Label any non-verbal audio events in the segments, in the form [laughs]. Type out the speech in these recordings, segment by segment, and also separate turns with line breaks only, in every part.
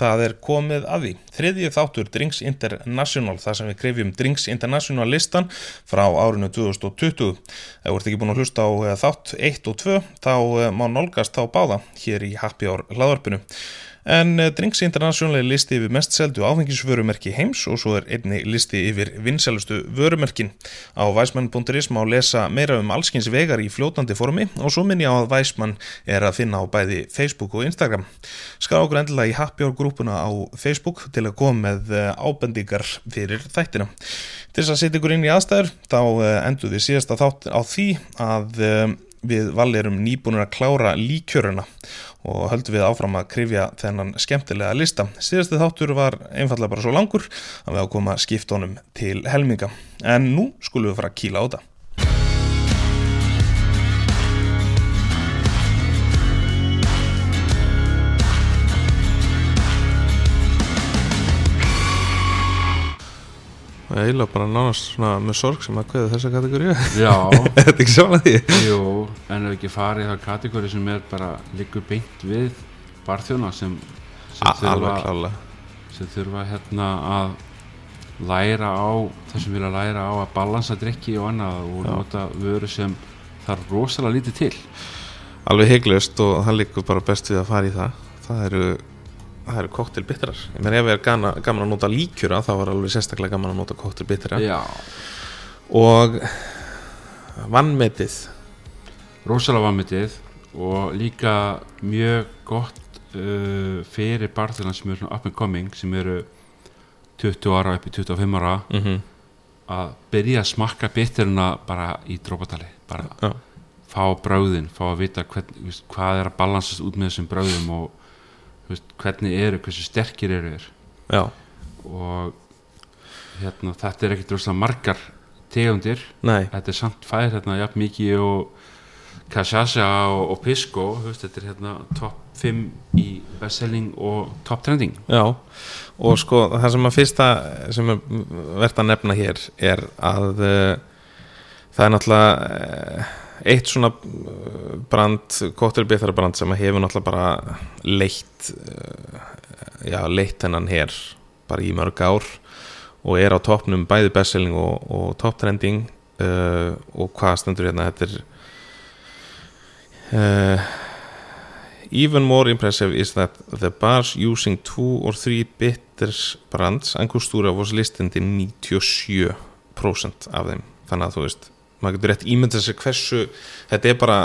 Það er komið að því. Þriðji þáttur Drinks International, þar sem við krefjum Drinks International listan frá árinu 2020. Ef þú ert ekki búin að hlusta á eh, þátt 1 og 2, þá eh, má nálgast þá báða hér í Happy Hour hlaðvarpinu. En eh, Drinks International er listi yfir mest seldu áfengisvörumerki heims og svo er einni listi yfir vinsælustu vörumerkin. Á væsmann.is má lesa meira um allskins vegar í fljótandi formi og svo minni á að væsmann er að finna á bæði Facebook og Instagram. Skar okkur endilega í Happy Hour grúpuna á Facebook til að koma með eh, ábendingar fyrir þættina. Til þess að setja ykkur inn í aðstæður þá eh, endum við síðasta þátt á því að eh, við valerum nýbúnir að klára líkjöruna og höldum við áfram að krifja þennan skemmtilega lista. Síðasti þáttur var einfallega bara svo langur að við ákváðum að koma skiptunum til helminga. En nú skulum við fara að kýla á þetta.
Ég eila bara nánast svona með sorg sem að kveða þessa kategóriu.
Já,
Þetta er ekki saman að því.
jú, en ef ekki farið það kategóri sem er bara liggur beint við barþjóna sem, sem
Alveg klálega.
sem þurfa hérna að læra á það sem vilja læra á að balansa drikki og annað og nota vöru sem þarf rosalega lítið til
Alveg heiklaust og það liggur bara best við að fara í það. Það eru, það eru koktelbittrar. Ég meina ef er gana, gaman að nota líkjura þá var alveg sérstaklega gaman að nota koktelbittrar.
Já,
Og vannmetið.
rosalega vammitið og líka mjög gott uh, fyrir barþjóna sem eru svona up and coming sem eru 20 ára upp í 25 ára
Mm -hmm.
að byrja að smakka biturina bara í drópatali bara
Já.
fá bröðin, fá að vita hvern, þú veist, hvað er að balansast út með þessum bröðum og þú veist, hvernig eru, hversu sterkir eru þeir
Já.
og hérna, þetta er ekkert rosalega margar tegundir
Nei.
þetta er samt fær hérna, jafn mikið og Kashasha og, og Pisco þú veist, þetta er hérna top 5 í bestselling og top trending
Já, og sko það sem að fyrsta sem er verðt að nefna hér er að uh, það er náttúrulega uh, eitt svona eh, brand kóttelbitharabrand sem að hefur náttúrulega bara leitt uh, já, leitt hennan hér bara í mörg ár og er á toppnum bæði bestselling og, og topptrending uh, og hvað stendur hérna þetta er uh, Even more impressive is that the bars using two or three bitters brands angustura was listed in 97% af þeim þannig að þú veist, maður getur rétt ímyndað sér hversu, þetta er bara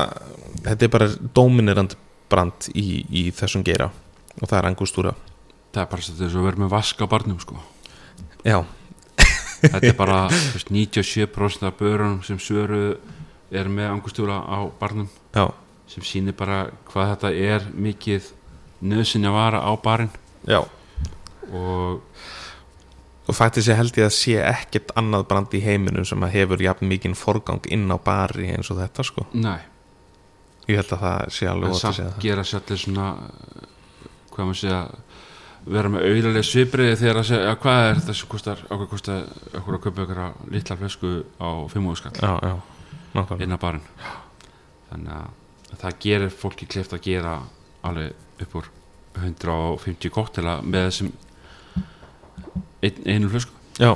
þetta er bara dominerand brand í, í þessum geira og það er angustura
það er bara svolítið eins og að vera með vask á barnum sko
Já,
þetta er bara þú veist, 97% af börunum sem svöru er með angustúra á barnum
já,
sem sýnir bara hvað þetta er mikið nöðsynja vara á barinn
já
og
og faktist ég held ég að sé ekkert annað brand í heiminum sem að hefur jafn mikinn forgang inn á bari eins og þetta sko
næ,
ég held að það sé alveg
en
ótt að
samt
segja það
gera sér allir svona eh, hvað maður segja vera með auðarlega svipriði þegar að segja já, hvað er þetta sem kostar, okkur kostar okkur að köpa ykkur á litla flösku á fimmúðskall
Já, já, nákvæmlega
inn á barinn þannig að það gerir fólki kleift að gera alveg upp úr 150 koktela með þessum ein, einu flösku
Já,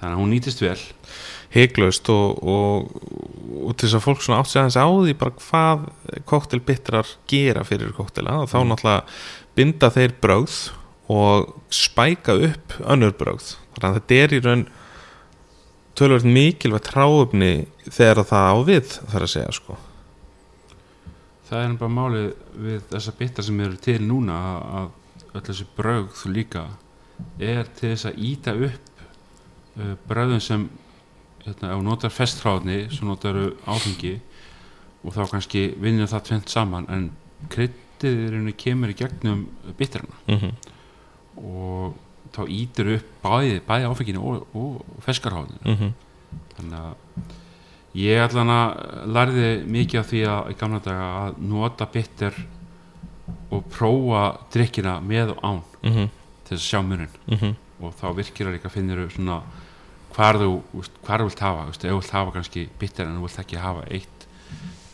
þannig að hún nýtist vel
heiklaust og, og, og til þess að fólk svona átt sig aðeins á því bara hvað koktelbittrar gera fyrir koktela og þá náttúrulega binda þeir brögð og spæka upp önnur brögð þannig að þetta er í raun tölvöld mikilvægt tráöfni þegar það á við þar að segja sko
það er bara málið við þessa bitar sem eru til núna að- að öll þessi brögð líka er til þess að íta upp uh, brögðum sem hérna, ef þú notar festráðni svo notar áfengi og þá kannski vinnir það tvent saman en kryddiðurinn kemur í gegnum bitarna
mm -hmm.
og þá ítur upp bæði, bæði áfenginu og, og feskarháðinu
Mm -hmm.
þannig að ég allan að lærði mikið af því að í gamla daga að nota bitter og prófa drikkina með og án
Mm -hmm.
til þess að sjá munin og þá virkir það líka finnir svona hvar þú, úst, hvar þú vilt hafa, úst, ef þú vilt hafa kannski bitter en þú vilt ekki hafa eitt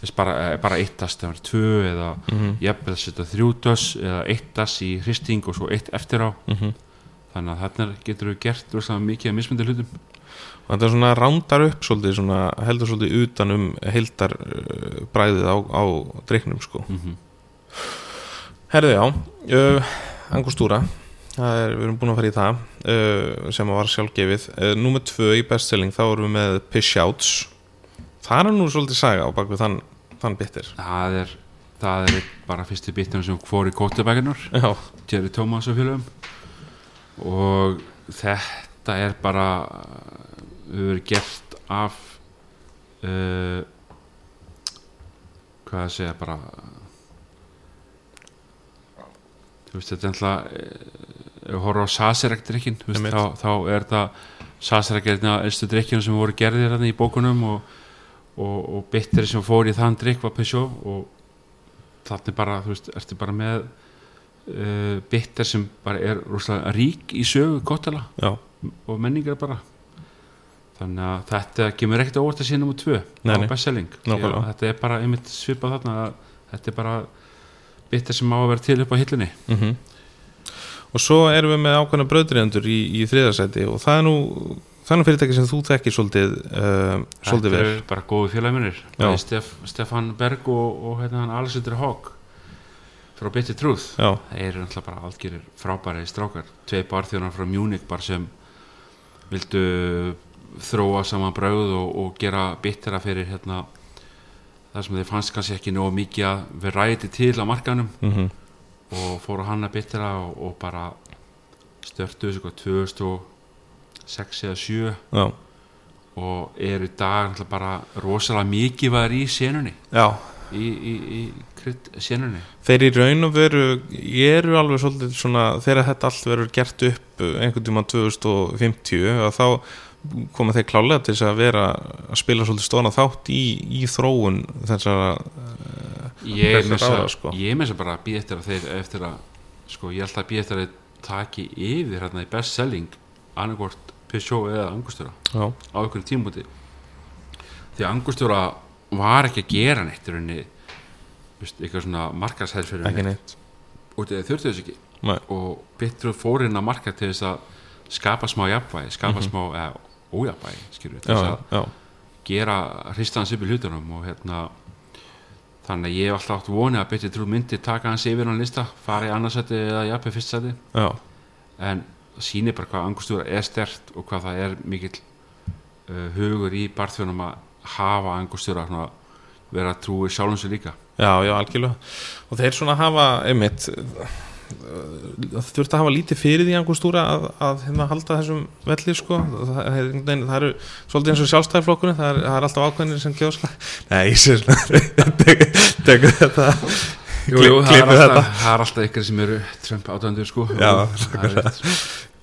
þess bara, eh, bara eitt dass þegar það er tvö eða jafnvel setja þrjú dass eða eitt dass í hristing og svo eitt eftir á
Mhm.
þannig að þarna getur við gert rosalega mikið að mismyndi hlutum
og þetta svona rándar upp svolítið svona, heldur svolítið utan um heildar uh, bræðið á, á driknum sko
Mhm.
Herðu já, uh, angustúra það er, við erum búin að fara í það uh, sem að var sjálfgefið uh, Númer tvö í bestselling þá erum við með Pish Outs Það er nú svolítið saga á bakvið þann, þann bitir
það er, það er einn bara fyrsti bitum sem fór í kóttabækarnar
Já,
Jerry Thomas og félögum og þetta er bara við verið gert af uh, hvað að segja bara þú veist þetta er alltaf ef við horfum á Sazerac drikkin
Einmitt.
þá, þá er það Sazerac er einna elstu drikkinu sem voru gerðir þarna í bókunum og, og, og bitteri sem fór í þann drikk var Peugeot og þarna er bara, þú veist, ertu bara með uh, bitter sem bara er rosalega rík í sögu kottala
já,
og menningar bara þannig að þetta kemur ekkert á óvart að sé nummer 2
Nei, nei.
á bestselling Því að
Nákvæmlega.
þetta er bara einmitt svipað þarna að þetta er bara bitter sem á að vera til upp á hillinni
mm Og svo erum við með ákveðna bröðriðendur í, í þriðarsæti og það er nú það er nú fyrirtæki sem þú tekir svolítið uh, svolítið
þetta
vel
eru bara góði félagi minnir
Já.
Stef, Stefan Berg og, og hérna hann Alexander Hawk frá Bitter Truth
Já,
þeir eru náttúrulega bara algjörir frábæri strákar tvei barþjónar frá Munich bara sem vildu þróa saman brauð og, og gera bittera fyrir hérna þar sem þeir fannst kannski ekki nóg mikið að við ræti til á markanum
mm -hmm.
og fóru að hanna bittera og, og bara störtu þessu hvað 2006 eða 7
já,
og eru í dag náttúrulega bara rosalega mikið var í senunni
já
í, í, í krydd senunni
þeir í raun og veru ég eru alveg svolítið svona þegar þetta allt verður gert upp eh, einhvern tíma 2050 að þá koma þeir klálega til þess að vera að spila svolítið stóna þátt í, í þróun þessara
ég er
Þessar
með þess að
ráða, sko.
ég er með þess að bara býð eftir að þeir eftir að sko ég held að býð eftir að þeir taki yfir hérna í best selling annarkvort Peugeot eða Angustura
já,
á einhverjum tímúti því að Angustura var ekki að gera neitt í rauninni veist, eitthvað svona
ekki
markarshelfyrir
neitt
og þeir þurftu þess ekki
Nei.
og Bitru fór inn á markað til þess að skapa smá jafnvægi skapa smá eða, ójafnvægi skilur við, til
Mhm. já,
þess að
já,
gera hristans upp í hlutunum og hérna þannig að ég hef alltaf átt vonið að betri trú myndi taka hans yfir á hann lista, fara í annarsæti eða jafnveg fyrstsæti
já,
en það sýnir bara hvað angustúra er stert og hvað það er mikill uh, hugur í barþjónum að hafa angustúra svona, vera trúi sjálfum sér líka
já, já, algjörlega og þeir svona hafa, einmitt það þurft að hafa lítið fyrir því angustúra að, að hérna halda þessum velli sko, það, það, er einhvern veginn- það eru svolítið eins og sjálfstæðflokkurinn það, er- það er alltaf ákveðinir sem kjósla nei, ég sé svona [laughs] tek- tekur þetta Klip-
það, er
klippið þetta.
alltaf, það er alltaf ykkur sem eru Trump átöndur sko
Já,
Og það er rétt.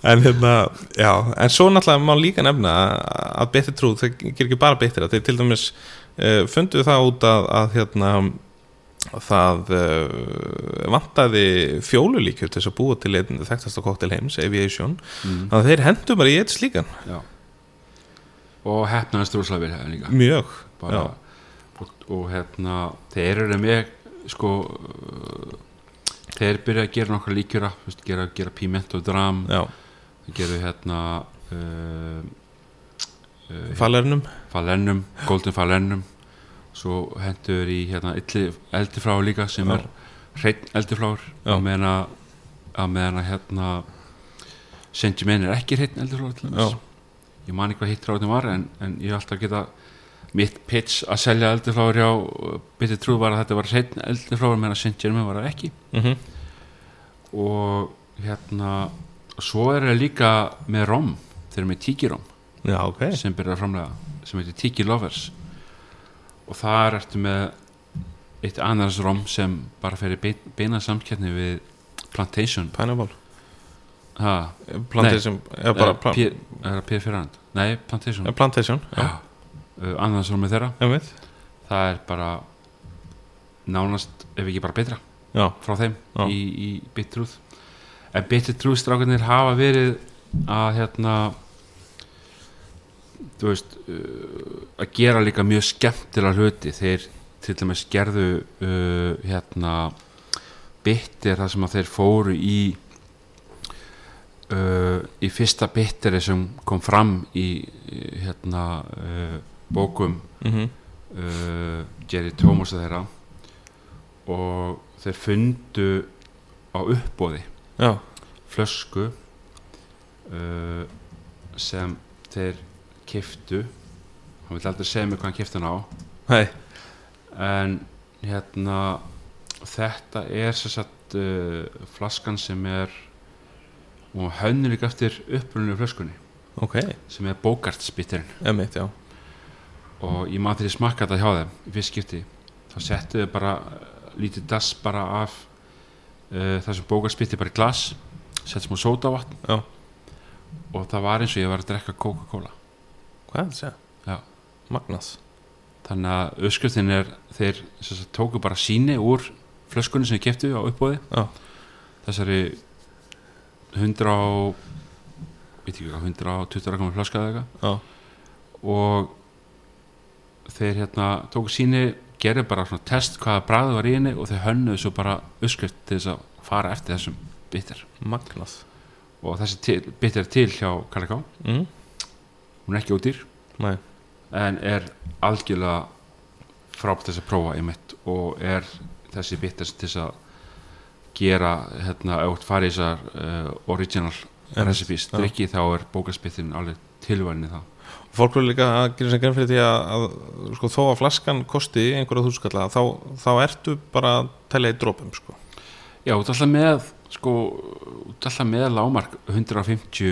En hérna, já, en svo náttúrulega má líka nefna að- að betri trú, það gerir ekki bara betri að þeir til dæmis uh, fundu það út að, að hérna það uh, vantaði fjólulíkjur til þess að búa til einn þekktasta koktel heims, Aviation
Mm,
þannig að þeir hendur bara í eitt slíkan
já. og hefnaðist rúslega vel hefði líka
mjög,
bara, og, og hérna þeir eru með sko uh, þeir byrja að gera nokkra líkjura þú veist, gera, gera pimento dram
já,
gera hérna uh, uh,
falernum
falennum, golden falennum svo hendur í hérna illi, eldifrá líka sem
Já.
er hreitt eldifrár
Já.
að meðan að- að meðan að hérna Saint Germain er ekki hreitt eldifrár til
Já.
þess ég man ekki hvað hitt ráðin var en, en ég er alltaf að geta mitt pitch að selja eldifrár hjá bitið trú var að þetta var hreitt eldifrár meðan að Saint Germain var það ekki
mm
og hérna svo er það líka með rom þeir eru með tíkirom
já, ok
sem byrjar að framlega sem heitir Tiki Lovers og þar ertu með eitt annars rom sem bara fer í bein- beina samkettni við Plantation
Pineapple,
ha,
plantation já, bara,
eh,
plan,
P- er það P fyrir hand nei, Plantation
já, plantation já,
Já. Uh, annars romið þeirra
einmitt
það er bara nánast ef ekki bara betra
já,
frá þeim
Já.
í, í Bitruth en Bitruth strákarnir hafa verið að hérna þú veist uh, að gera líka mjög skemmtilega hluti þeir til dæmis gerðu uh, hérna bitter þar sem að þeir fóru í uh, í fyrsta bitteri sem kom fram í í, hérna uh, bókum
Mhm.
uh, Jerry Thomas og þeirra og þeir fundu á uppbóði
já,
flösku uh, sem þeir kiftu hann vil aldrei segja mér hvað hann kiftu hann á
hei
en hérna þetta er sem sagt uh, flaskan sem er og hönnur líka eftir uppruninu flöskunni
ok,
sem er bókartsbitterinn
emitt, já
og ég maður þegar ég smakka þetta hjá þeim í fyrst skipti þá settu þau bara eh, lítið dass bara af uh, það sem bókartsbitter bara í glas settu smá sódavatn
Já.
og það var eins og ég var að drekka Coca-Cola
hvað er það að segja?
Já.
magnað,
þannig að uppskriftin er þeir sem sagt, tóku bara síni úr flöskunni sem keftu á uppbóði
Já.
þessari 100 og veit ekki hvað, 120 rakamur flöska eða
Já.
eitthvað og þeir hérna tóku síni gerði bara svona test hvaða bræðu var í henni og þeir hönnuðu svo bara uppskrift til þess að fara eftir þessum bitter
magnað
og þessi til, bitter er til hjá Kaliká
mm?
hún er ekki ódýr
Nei.
en er algjörlega frábært þess að prófa einmitt og er þessi bitter til þess að gera hérna átt farið þessar uh, original
Einmitt,
recipes
já.
drikki þá er bókarspittin alveg tilvæðinni það
fólk verður líka að gera sér grein fyrir því að, að sko, þó að flaskan kosti einhverja þúskalla þá, þá ertu bara að telja í dropum sko.
Já, þú ert alltaf með sko, þú ert alltaf með lámark 150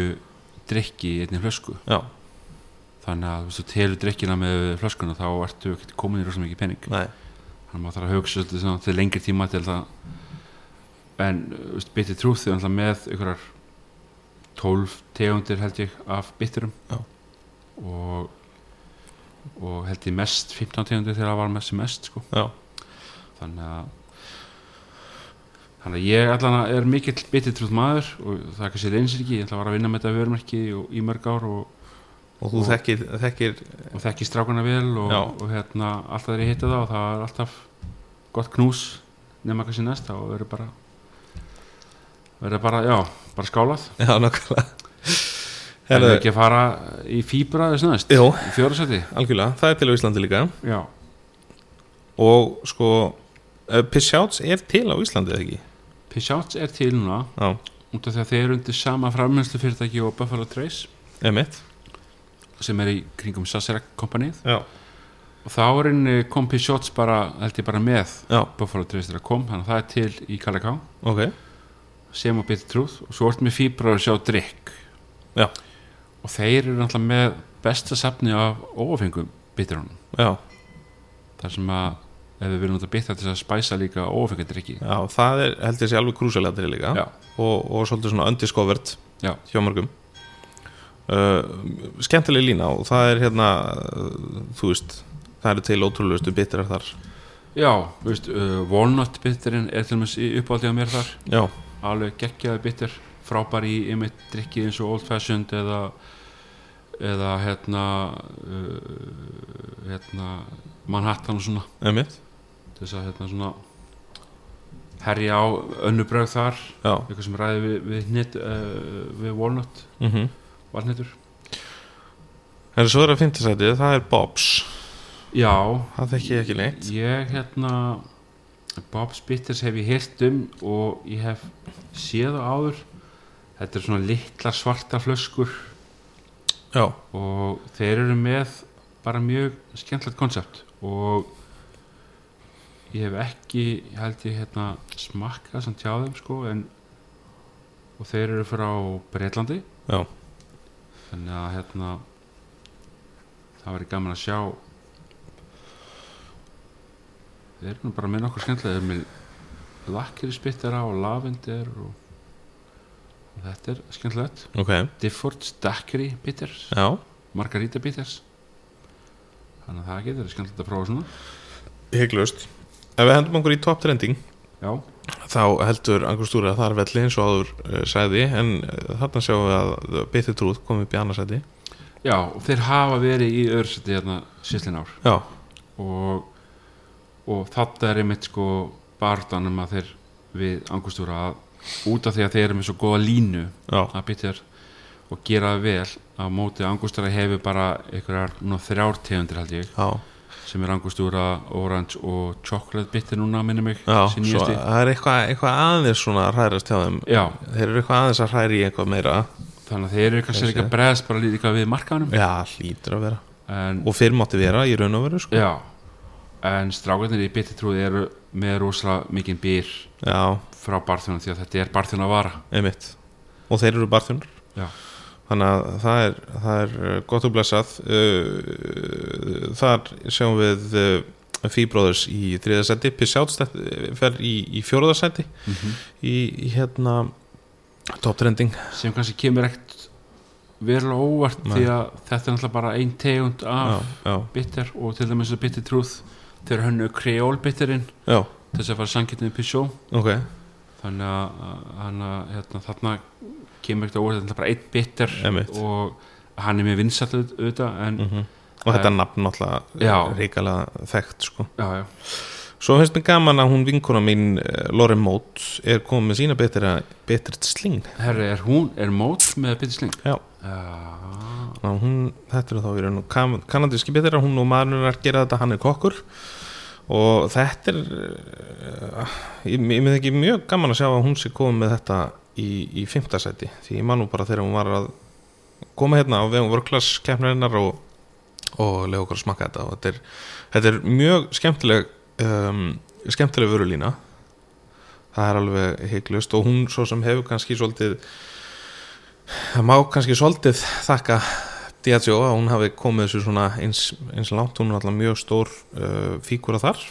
drikki í einni flösku
já,
þannig að þú veist, þú telur drikkina með flöskuna þá ertu ekkert komin í rosa mikið pening
nei,
þannig að maður þarf að hugsa svolítið svona til lengri tíma til það en bitir trúð því alltaf með einhverjar 12 tegundir held ég af biturum
Já.
og og held ég mest 15 tegundir þegar það var mest sem mest sko.
já,
þannig að þannig að ég allan að er mikill bititrúð maður og það er kannski reynsir ekki ég ætla að vara að vinna með þetta vörumerki og, í mörg ár og,
og þú
Og-
þekkir, þekkir
og þekki strákana vel og,
Já.
og hérna, alltaf þegar ég hitta það og það er alltaf gott knús nema kannski næsta og verður bara verður bara, já, bara skálað
já, nákvæmlega
en
Herðu,
ekki að fara í fýbra þess næst,
jú,
í fjórasæti
algjörlega, það er til á Íslandi líka
já,
og sko uh, Pissjáts er til á Íslandi eða ekki
Pishouts er til núna
Já.
út af því að þeir eru undir sama framhjöldu fyrirtæki og Buffalo Trace
eða mitt
sem er í kringum Sazerac kompanið
já,
og þá er henni kom Pishouts bara, held ég bara með
já,
Buffalo Trace þegar það kom, þannig að það er til í Kalaká
ok
sem og bitur trúð og svo ertu með fýbrar að sjá drikk
Já.
og þeir eru náttúrulega með besta safni af óafengum biturunum
já,
þar sem að ef við viljum þetta bitra til að spæsa líka óafengadrykki
já, það er held ég sé alveg krúsalega til líka
Já.
og, og svolítið svona undiscovered
Já.
hjá mörgum uh, skemmtileg lína og það er hérna uh, þú veist, það eru til ótrúlegustu bitrar þar
já, þú veist, uh, walnut biturinn er til dæmis í uppáldi á mér þar
já,
alveg geggjaði bitur frábær í einmitt drikki eins og old fashioned eða eða hérna uh, hérna Manhattan og svona
einmitt
til þess að hérna svona herja á önnubröð þar
já,
eitthvað sem ræði við, við, hnit, uh, við Walnut
mhm
valnitur
Það er svo er að finna sætið, það er Bobs
já,
Það þekki ég ekki neitt
ég hérna Bob Spitters hef ég hirt um og ég hef séð á áður þetta er svona litla svarta flöskur
Já,
og þeir eru með bara mjög skemmtilegt konsept og ég hef ekki ég held ég hérna smakkað sem tjáðum sko en og þeir eru frá Breitlandi
Já.
þannig að hérna það væri gaman að sjá þeir eru nú bara með nokkur skemmtilega þeir eru með lakkirisbittara og lavendir og, og þetta er skemmtilegt
ok
Difford Daiquiri bitters
Já,
margarita bitters þannig að það getur verið skemmtilegt að prófa svona
hygglust Ef við hendum okkur í top trending
já,
þá heldur Angur Stúri að það er velli eins og áður uh, sæði en uh, þarna sjáum við að Bitið Trúð kom upp í annarsæti
já og þeir hafa verið í öðursæti hérna síslinn ár
Já,
og og þetta er einmitt sko barðanum að þeir við angustúra að út af því að þeir eru með svo góða línu
já,
að bitur og gera það vel að móti angustúra hefur bara einhverjar núna þrjár tegundir held ég
já,
sem er angustúra, orange og chocolate bitter núna minni mig
já
sem
svo
nýjasti.
það er eitthvað, eitthvað aðeins svona að hrærast hjá þeim
já,
þeir eru eitthvað aðeins að hræri í eitthvað meira
þannig að þeir eru kannski
Þessi.
líka bregðast bara líka við markaðanum
já, hlýtur að vera
en
og fyrr mátti vera í raun og veru sko.
Já, en strákarnir í bittertrúð eru með rosalega mikinn býr
já,
frá barþjónum því að þetta er barþjóna vara
einmitt og þeir eru barþjónar
Já.
þannig að það er, það er gott og blessað Uh, þar sjáum við uh, Fíbróðurs í þriða seti Pissjáts uh, fer í, í fjóruða seti í, í hérna top trending
sem kannski kemur ekkert verulega óvart
Nei.
því að þetta er náttúrulega bara ein tegund
já,
af
já,
bitter og til dæmis að bittertrúð þegar hönnu kreólbitterinn
já,
til þess að fara sangitinu í Peugeot
ok
þannig að, að, að hérna, þarna kemur ekkert á óvart þetta er náttúrulega bara einn bitter
Einmitt.
og hann er mjög vinsall auðvitað en
mm og þetta nafn
Já.
náttúrulega ríkalega þekkt sko
já, já,
Svo finnst mér gaman að hún vinkona mín eh, Lauren Mót er komið með sína betra, betra sling
herri, er hún, er mót með Ah. bittersling?
Já.
Já,
Ná, hún, þetta er þá verið nú kan, kanadíski betra, hún og maðurinn er að gera þetta hann er kokkur og þetta er uh, ég, ég myndi ekki mjög gaman að sjá að hún sé komið með þetta í, í fimmtasæti því ég man nú bara þegar hún var að koma hérna á vegum vörklass kemnarinnar og, og lega okkur að smakka þetta og þetta er, þetta er mjög skemmtileg um, skemmtileg vörulína það er alveg heiklust og hún svo sem hefur kannski svolítið það má kannski svolítið þakka Diageo að hún hafi komið þessu svona eins, eins langt, hún er alltaf mjög stór uh, fígura þar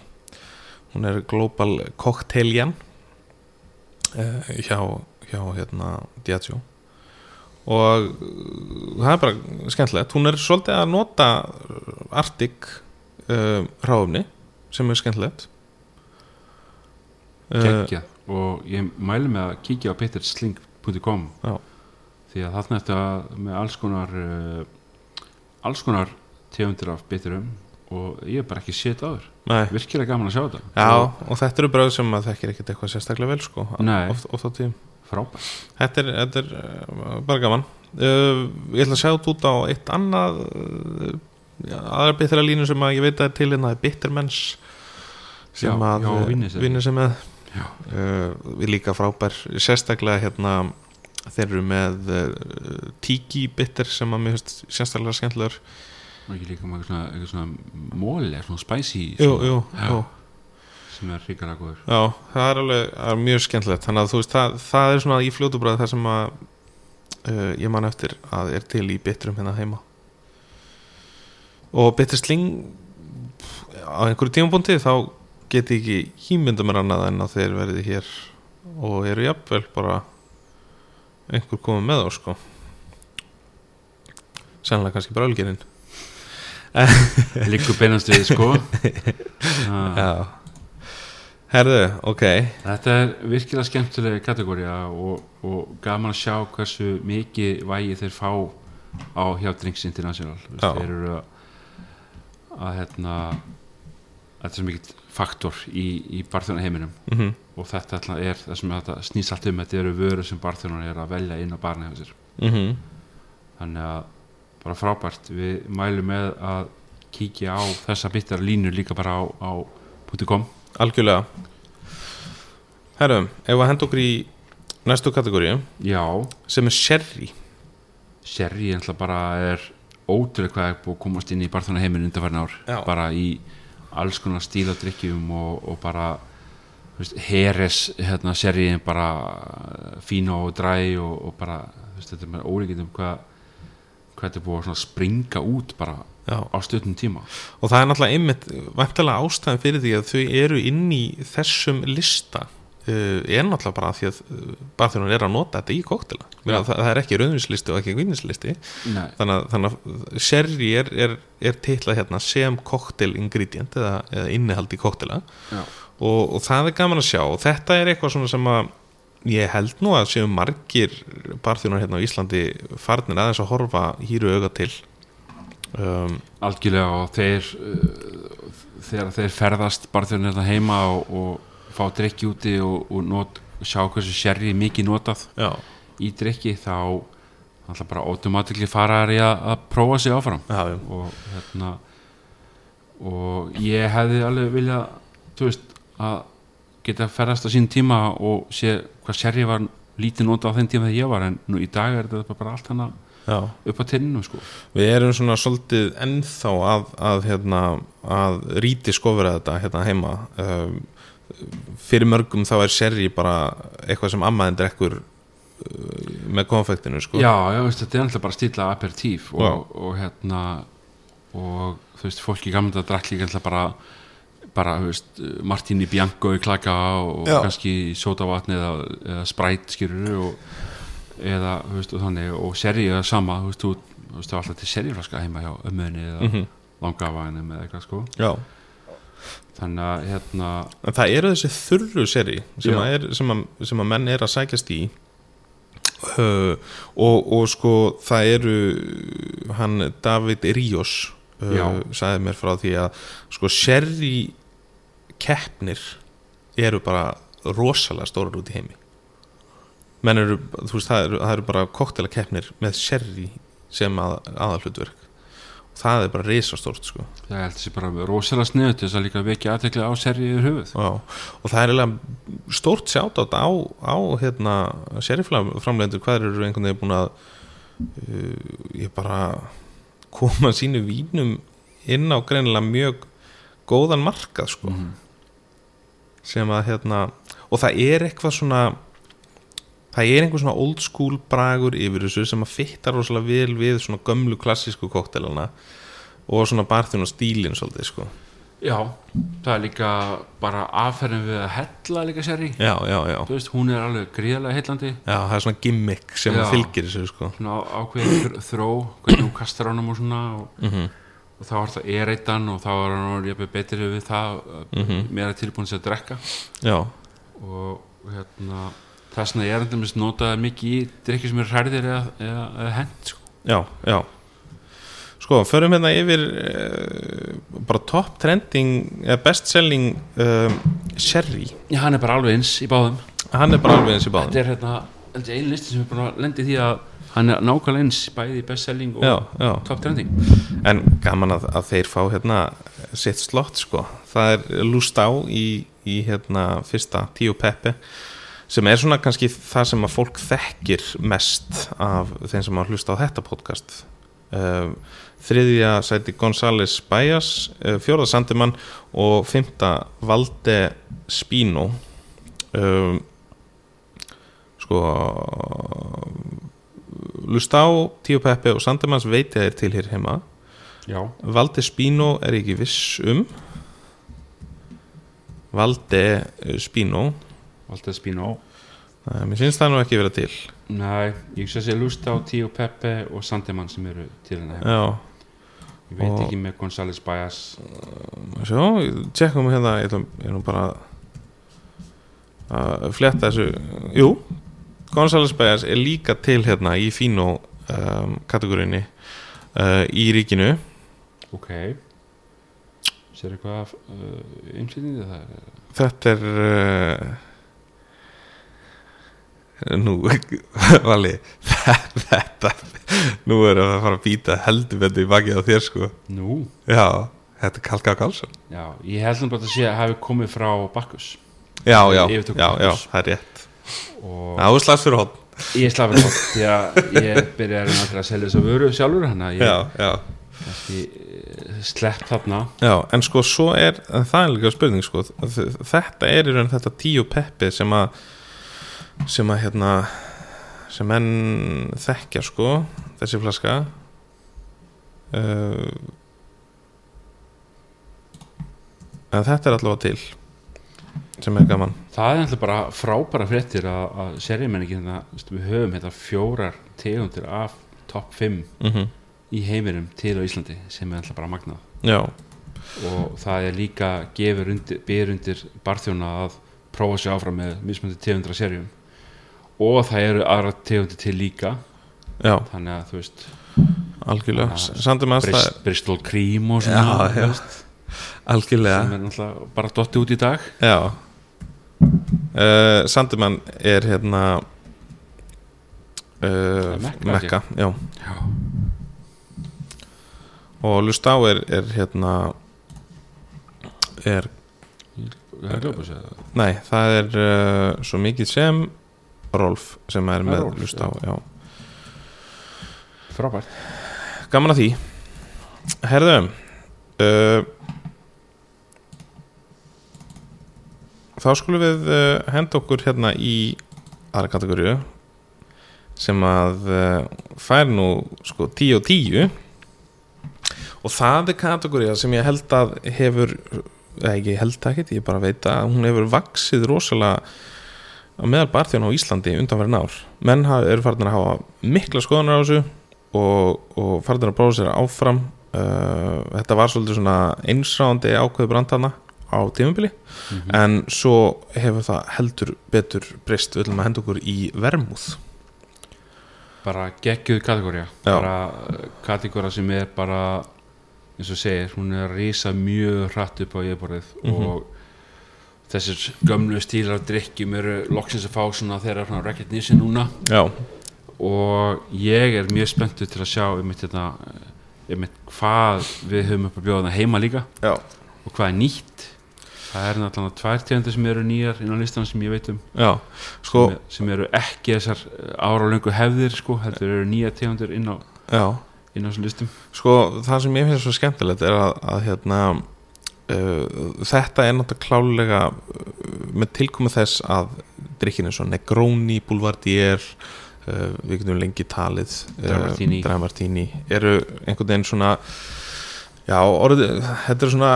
hún er global cocktailjan uh, hjá, hjá hérna Diageo og uh, það er bara skemmtilegt hún er svolítið að nota uh, Arctic uh, ráfumni sem er skemmtilegt uh,
geggjað Eh, og ég mæli með að kíkja á petersling.com
Já.
því að þarna ertu að með alls konar uh, alls konar tegundir af biturum og ég er bara ekki séð þetta áður
nei,
virkilega gaman að sjá þetta
Eh. já, og þetta eru bröð sem að þekkir ekkert eitthvað sérstaklega vel sko,
Nei.
oft, oft á tíum
frábært
Þetta er, þetta er uh, bara gaman uh, Ég ætla að sjá þetta út á eitt annað uh, já, aðra bittra línu sem að ég veit að er til en það er bittermens sem
Já,
að
já,
uh,
Vinni sem-
Vinni sem með
Já.
uh, Við líka frábær sérstaklega hérna þeir eru með uh, tiki bitter sem að mér finnst sérstaklega skemmtilegur
og ekki líka með eitthvað svona, eitthvað svona móli, svona spicy
Jú,
svona,
jú,
Já.
jú
sem er ríkara góður
Já, það er alveg það er mjög skemmtilegt þannig að þú veist, það, það er svona í fljótu bræð það sem að uh, ég man eftir að er til í bitrum hérna heima og bitur sling pff, á einhverju tímabúndi þá geti ég ekki ímynda mér annað en að þeir verði hér og eru jafnvel bara einhver komið með þá sko sannlega kannski bara ölgerinn
líku beinast við
[laughs]
sko Ah,
Já Herðu, ok
þetta er virkilega skemmtilega kategória og, og gaman að sjá hversu mikið vægi þeir fá á hjá Drinks International Þú veist,
Já.
þeir eru að, að hérna þetta er svo mikið faktor í, í barþjóna heiminum
mm -hmm.
og þetta ætla- er það sem þetta snýst allt um þetta eru vörur sem barþjóna er að velja inn á barni hjá sér
Mhm.
þannig að bara frábært við mælum með að kíkja á þessa bitar línur líka bara á, á .com
Algjörlega Herrum, ef að henda okkur í næstu kategóri
já
sem er sherry
Sherry er náttúrulega bara er ótrúlega hvað er búið að komast inn í barþjóna heiminn undanfærin ár
Já.
bara í alls konar stíl á drikkjum og, og bara þú veist, heres hérna, Sherry er bara eh, fína og dræ og, og bara þú veist, þetta er með ólíkitum hvað hvað þetta er búið að svona springa út bara
Já.
á stöðnum tíma
og það er náttúrulega einmitt vantilega ástæðan fyrir því að þau eru inn í þessum lista uh, er náttúrulega bara því að uh, barþjónun er að nota þetta í kóktela
Já.
það, það er ekki rauðvinslisti og ekki vinnislisti
Nei,
þannig að, þannig að sherry er, er, er titla hérna sem koktel ingredient eða, eða innihald í koktela
já,
og, og það er gaman að sjá og þetta er eitthvað svona sem að ég held nú að séu margir barþjónar hérna á Íslandi farnir aðeins að horfa hýru auga til um,
algjörlega og þeir uh, þegar þeir ferðast bara þegar þetta heima og, og fá drikki úti og, og not, sjá hversu sherry er mikið notað
já,
í drikki þá alltaf bara automátikli fara þær í að, að prófa sig áfram
já, já.
og hérna og ég hefði alveg vilja þú veist að geta ferðast á sín tíma og sé hvað serið var lítið nota á þeim tíma þegar ég var en nú í dag er þetta bara allt hana
já.
upp á tenninum sko
Við erum svona svolítið ennþá að, að, hérna, að ríti skofra þetta hérna heima um, fyrir mörgum þá er seri bara eitthvað sem ammaðin drekkur uh, með konfektinu sko.
já, já, veist, þetta er alltaf bara stíla aperitíf og,
Já.
og, hérna og þú veist, fólki gamla þetta drakk líka alltaf bara bara, þú veist, Martini Bianco í klaka og
Já.
kannski sótavatn eða, eða spræt skýrur og eða, þú veist, og þannig og seri eða sama, þú veist, þú, þú veist, það var alltaf til seriflaska heima hjá ömmuðinni eða mm
Mhm.
langafaginum eða eitthvað, sko
já.
þannig að, hérna,
En það eru þessi þurru seri sem,
Já.
að er, sem, að, sem að menn er að sækjast í uh, og, og sko það eru hann David Ríos
Já.
uh, sagði mér frá því að sko seri keppnir eru bara rosalega stórar út í heimi menn eru, þú veist, það eru, það eru bara koktela keppnir með seri sem að, aðalhlutverk og það er bara risastórt sko
það er alltaf sér bara rosalega sniðu til þess að líka vekja aðtekla á seri yfir höfuð
Já, og það er eiginlega stórt sjátátt á, á hérna, sériframlendur hvað eru einhvern veginn búin að uh, ég bara koma sínu vínum inn á greinilega mjög góðan markað sko sem að hérna og það er eitthvað svona það er einhver svona old school bragur yfir þessu sem að fitta rosalega vel við svona gömlu klassísku koktelana og svona barþjónu og stílinn svolítið sko
já, það er líka bara aðferðin við að hella líka seri
já, já, já
þú veist, hún er alveg gríðarlega heillandi
Já, það er svona gimmick sem
Já.
fylgir þessu sko
svona á- ákveðin þr- þró hvernig hún kastar honum og svona og, og þá er það ereitan og þá er hann orðinn jafnvel betri við það mm -hmm. meira tilbúin sér að drekka
Já,
og hérna þess vegna ég er endur notaði mikið í drikki sem er hræðir eða, eða, eða hend sko.
já, já Sko, förum hérna yfir uh, bara top trending eða best selling um, sherry,
Já, hann er bara alveg eins í báðum
hann er bara alveg eins í báðum
þetta er hérna held ég, einu listi sem er búin að lendi því að hann er nákvæmlega eins bæði í bestselling og
Já, já
top trending
En gaman að, að þeir fá hérna sitt slott sko Það er Lustá í, í hérna fyrsta tíu peppi sem er svona kannski það sem að fólk þekkir mest af þeim sem að hlusta á þetta podcast uh, þriðja sæti González Bajas uh, fjórða Sandimann og fymta Valde Spino um, sko Lustá, Tíu Peppi og Sandimanns veit ég að er til hér heima
já,
Valde Spino er ég ekki viss um Valde eh, Spino
alltaf spínu á
Nei, mér finnst það nú ekki vera til
Nei, ég sé að sé Lústa á Tíu Peppe og Sandemann sem eru til hennar heima.
Já,
Ég veit
og-
ekki með González Bajas
sjó, tjekkum hérna ég ætlum, ég er nú bara að fletta þessu Jú, Gonzales Bajas er líka til hérna í Fino um, kategorinni uh, í ríkinu
Ok Sér eitthvað af uh, umsýtningu það er
Þetta er uh, Nú [laughs] Vali [laughs] Þetta Nú erum við að fara að býta heldur betur í bakið á þér sko
Nú,
Já, þetta er Kalka Karlsson
já, ég heldum bara að sé að hafi komið frá Bakkus
Já, já, já,
Yfirtöku
já,
Bakkus.
það er rétt
og
Það er slags fyrir hótt
ég slafi það því að ég byrjaði náttúrulega að selja þess að vöru sjálfur hann
Já,
að ég
já,
kannski eh, slepp þarna
já, en sko svo er það er líka spurning sko þ- þetta er í raun þetta tíu peppi sem að sem að hérna sem menn þekkja sko þessi flaska uh, en þetta er allavega til sem er gaman
Það er alltaf bara frábæra fréttir að, að seriðmenningin við höfum hérna fjórar tegundir af topp 5
mm
í heiminum til á Íslandi sem er alltaf bara magnað
já,
og það er líka gefur undir, byr undir barþjóna að prófa sig áfram með mismöndi tegundra serjum og það eru aðra tegundir til líka
já,
þannig að þú veist
algjörlega
Ah,
Sandum að það
Brist, Bristol Cream og svona
Já, já.
þú veist.
algjörlega
sem er náttúrulega bara dotti út í dag
Já uh, Sandimann er hérna uh,
er Mekka,
Mekka já.
Já.
Og Lustá er, er hérna er,
það er glöpa sér það
nei, það er uh, svo mikið sem Rolf sem er
er
með
Rolf,
Lustá já.
frábært
Gaman að því Herðu uh, Þá skulum við uh, henda okkur hérna í aðra kategóriu sem að uh, fær nú sko 10 og 10 og það er kategória sem ég held að hefur eða ekki ég held ekkert, ég bara veit að hún hefur vaksið rosalega á meðal barþjóna á Íslandi undanverðin ár menn hafa- eru farnir að hafa mikla skoðunar á þessu og, og farnir að bróða sér áfram uh, þetta var svolítið svona einsráðandi ákveðu brandana á tímubili en svo hefur það heldur betur breyst, við ætlum að henda okkur í vermúð
bara geggjuð kategória
Já.
bara uh, kategóra sem er bara eins og segir, hún er að rísa mjög hratt upp á yfirborðið
Mhm.
og þessir gömlu stílar af drikkjum eru loksins að fá svona þeirra svona recognition núna
já,
og ég er mjög spenntur til að sjá einmitt þetta einmitt hvað við höfum upp að bjóða það heima líka
já,
og hvað er nýtt það er náttúrulega tvær tegundir sem eru nýjar innan listan sem ég veit um
já sko,
sem, sem eru ekki þessar eh, áralöngu hefðir sko, heldur eru nýja tegundir inn á
já
inn á þessum listum
Sko, það sem ég finnst svo skemmtilegt er að, að hérna, uh, þetta er náttúrulega klálega uh, með tilkomu þess að drikkin er svo Negroni, Boulevardier uh, við getum lengi talið um,
Dramartini.
Dramartini eru einhvern veginn svona já, orðið, þetta er svona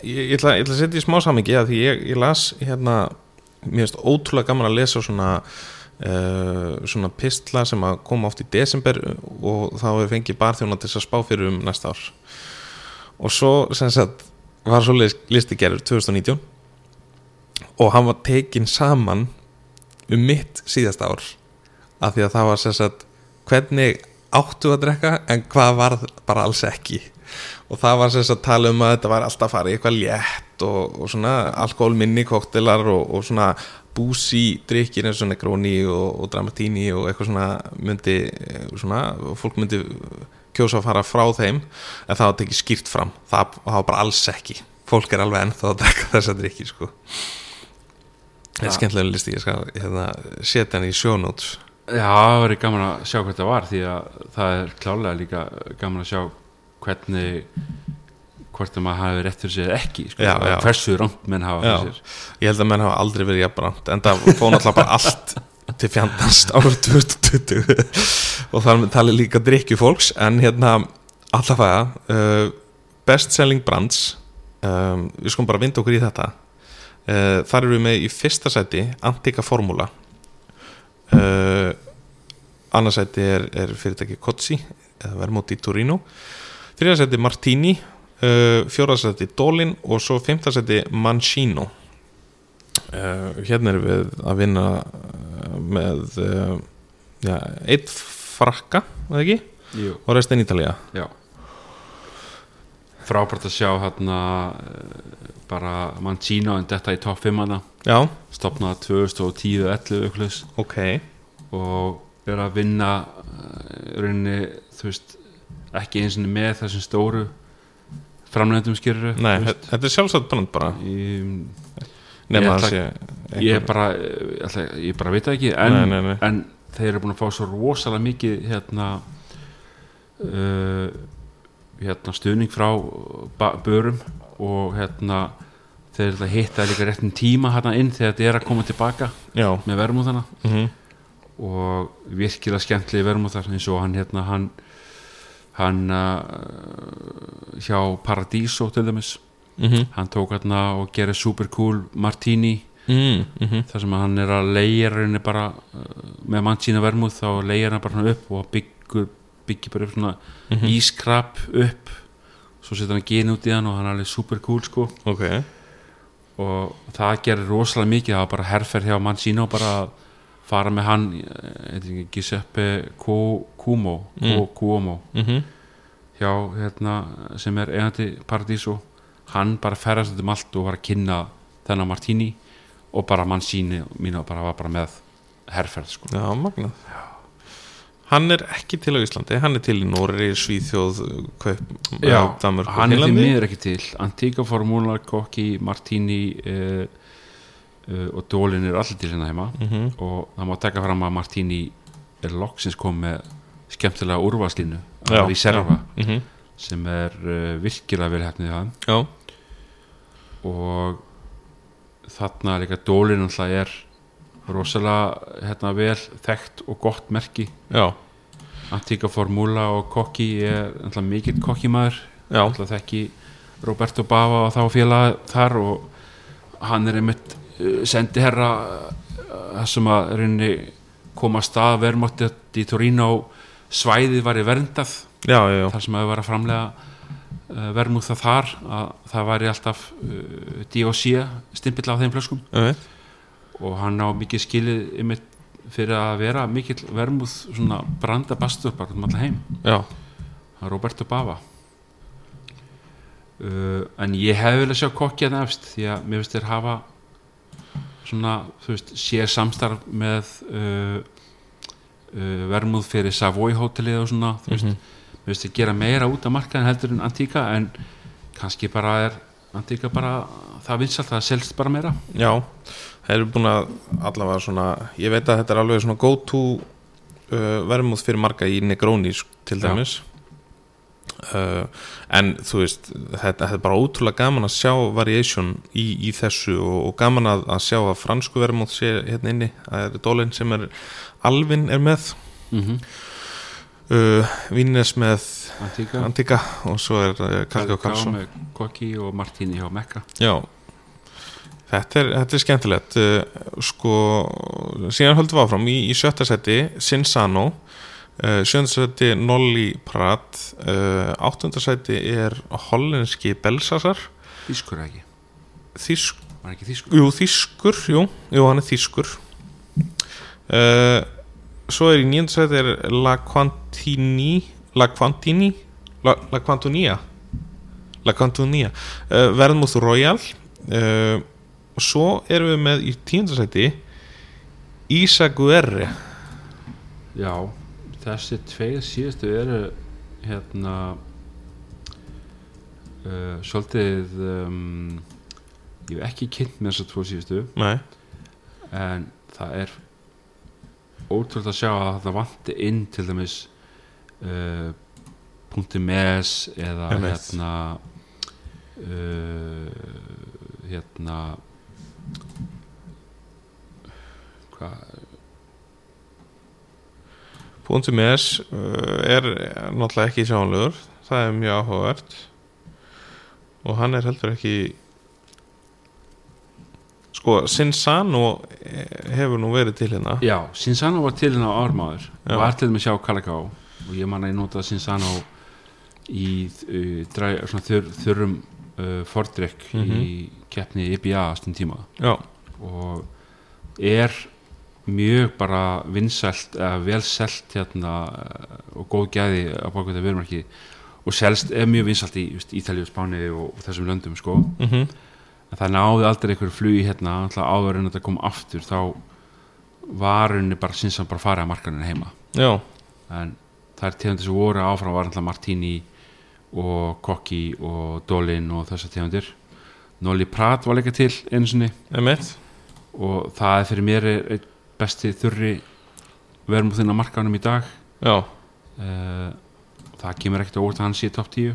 ég, ég, ætla, ég ætla að setja í smá samingi að því ég, ég las hérna, mér finnst ótrúlega gaman að lesa svona Uh, svona pistla sem að koma oft í desember og þá hefur fengið barþjóna til þess að spá fyrir um næsta ár og svo sem sagt var svo listi gerður 2019 og hann var tekin saman um mitt síðasta ár af því að það var sem sagt hvernig áttu að drekka en hvað var bara alls ekki og það var sem sagt tala um að þetta var alltaf að fara í eitthvað létt og, og svona alkoholminni koktelar og, og svona búsi drikkir eins og negróni og, og dramatíni og eitthvað svona myndi eh, svona, fólk myndi kjósa að fara frá þeim en það var tekið skýrt fram það, það var bara alls ekki fólk er alveg ennþá að drekka þessa drikki sko Þetta er
Ja.
skemmtilega listi, ég skal hérna, setja hann í sjónóts
Já, það verið gaman að sjá hvað þetta var því að það er klálega líka gaman að sjá hvernig hvort að maður hafi rétt fyrir sér eða ekki sko,
Já, já.
hversu rámt menn hafa
Já,
fyrir sér
ég held að menn hafa aldrei verið jafnbrant en það fóð náttúrulega bara allt til fjandast árið 2020 og þar með talið líka drikju fólks en hérna allavega uh, best selling brands um, við skoðum bara vinda okkur í þetta uh, þar eru við með í fyrsta sæti Antika Formula uh, annarsæti er, er fyrirtæki Kotsi eða Vermóti Torino þriðarsæti Martini uh, fjórarsæti Dolin og svo fimmtarsæti Mancino uh, hérna erum við að vinna uh, með uh, já, eitt frakka eða ekki,
Jú,
og restin Ítalía
já Frábært að sjá hérna eh, bara mann Gino en þetta í topp 5 hana
já,
stopnaða 2010 og 11 auklis
ok
og er að vinna eh, rauninni, þú veist ekki eins og með þessum stóru framlendum skýrur
Nei, þe- þetta er sjálfsagt brand bara
Í-
nema
Ég
að
ætla-
sé
ég
einhver-
bara, eh, ætla, ég bara veit það ekki en,
Nei, nei, nei.
en þeir eru búin að fá svo rosalega mikið hérna uh, hérna stuðning frá eh, ba- börum og hérna þeir eru að hitta líka réttin tíma hérna inn þegar þetta er að koma tilbaka
já,
með verðmúðana
mm
og virkilega skemmtlegi verðmúðar eins og hann hérna hann, hann uh, hjá Paradiso til dæmis
Mhm.
hann tók hérna og gerði super cool martini
mm -hmm.
þar sem hann er að leigja rauninni bara uh, með mann sína vermúð þá leigja hann bara svona upp og byggur, byggir bara upp svona
Mhm.
ískrap upp svo setur hann gen út í hann og hann er alveg super cool sko
ok,
og það gerir rosalega mikið það var bara herferð hjá mann sína og bara að fara með hann eh, heitir ekki Giuseppe Cu- Cuomo, Cu- Cuomo
mm -hmm.
hjá hérna sem er eigandi Paradiso hann bara ferðast um allt og var að kynna þennan Martini og bara mann síni mín og bara var bara með herrferð sko
Já, magnað Hann er ekki til á Íslandi, hann er til í Nóri, Svíþjóð, Kaup,
Já,
Damur og
hann er því
Finnlandi.
miður ekki til Antíka formúla, Kokki, Martini uh, uh, og Dólin er allir til hérna heima
Mhm.
og það má taka fram að Martini er loksins kom með skemmtilega úrvarslínu
Já,
í Serva
Mhm.
sem er uh, virkilega vel hefnið það
Já,
og þarna líka Dólin alltaf er rosalega hérna, vel þekkt og gott merki
já,
Antíka formúla og Kokki er alltaf mikill kokkimaður
já,
alltaf þekki Roberto Bava og þá félag þar og hann er einmitt eh, sendi herra sem að rauninni koma að stað verðmáttið í Torino svæðið var í verndað
já, já, já.
þar sem að vera framlega verðmúða þar að það væri alltaf uh, DOC stimpill á þeim flöskum
einmitt.
og hann á mikið skilið einmitt fyrir að vera mikill verðmúð svona brandabastur bara um allan heim
já,
Það er Roberto Bava uh, En ég hef vilja sjá kokki að efst því að mér finnst þér hafa svona, þú veist, sér samstarf með uh, uh, vermúð fyrir Savoy hótelið og svona, þú veist, mér finnst þér gera meira út af markaðin heldur en Antíka en kannski bara er Antíka bara, það vinsalt, það selst bara meira
já. Það eru búin að allavega svona, ég veit að þetta er alveg svona go-to uh, verðmúð fyrir marga í Negroni sk- til
Já.
dæmis. Uh, en þú veist, þetta, þetta er bara ótrúlega gaman að sjá variation í, í þessu og, og gaman að, að sjá að fransku verðmúð sé hérna inni, það er dólinn sem er Alvin er með
mm -hmm.
uh, Vínnes með
Antíka,
Antika og svo er uh, Kalki og Karlsson
með kokki og Martini hjá Mekka
Já Þetta er, þetta er skemmtilegt uh, sko, síðan höldum við áfram í, í sjötta seti Sinsano uh, sjönda seti Nolli Prat uh, áttunda seti er hollenski Belsasar
Þýskur eða ekki,
Þýsk,
var ekki þýskur
jú, Þýskur, jú, jú, hann er Þýskur uh, svo er í nýjönda seti er La Quantini La Quantini La, La Quantunia La Cantonia uh, Verðmúð Royal uh, og svo erum við með í tíundasæti Ísa Guerri
Já, þessi tveir síðustu eru hérna uh, svolítið um, ég hef ekki kynnt með þessar tvo síðustu
Nei,
en það er ótrúlega að sjá að það vanti inn til dæmis uh, .ms eða
MS.
hérna uh, hérna hvað
punktum S uh, er náttúrulega ekki sjónlegur það er mjög áhugavert og hann er heldur ekki sko Sinsano eh, hefur nú verið til hérna
Já, Sinsano var til hérna á ármaður
Já.
var til með sjá Kalaká og ég man að ég nota Sinsano í uh, dræ, svona, þur, þurrum uh, fordrykk í keppni E IBA stund tíma
Já,
og er mjög bara vinsælt eða velselt hérna eh, og góð gæði á bakvölda verumarki og selst er mjög vinsælt í just, Ítalíu, og Spáni og, og þessum löndum sko
mm
en það náði aldrei einhverju flugi hérna alltaf áður en þetta kom aftur þá var henni bara sinnsam bara farið að markaninu heima
já,
en þær tegundir sem voru áfram var alltaf Martini og Kokki og Dolin og þessar tegundir Nolli Prat var líka til einu sinni
emitt
og það er fyrir mér er einn besti þurri verðmúðin á markanum í dag
Já,
uh, það kemur ekkert á óvart að hann sé í topp 10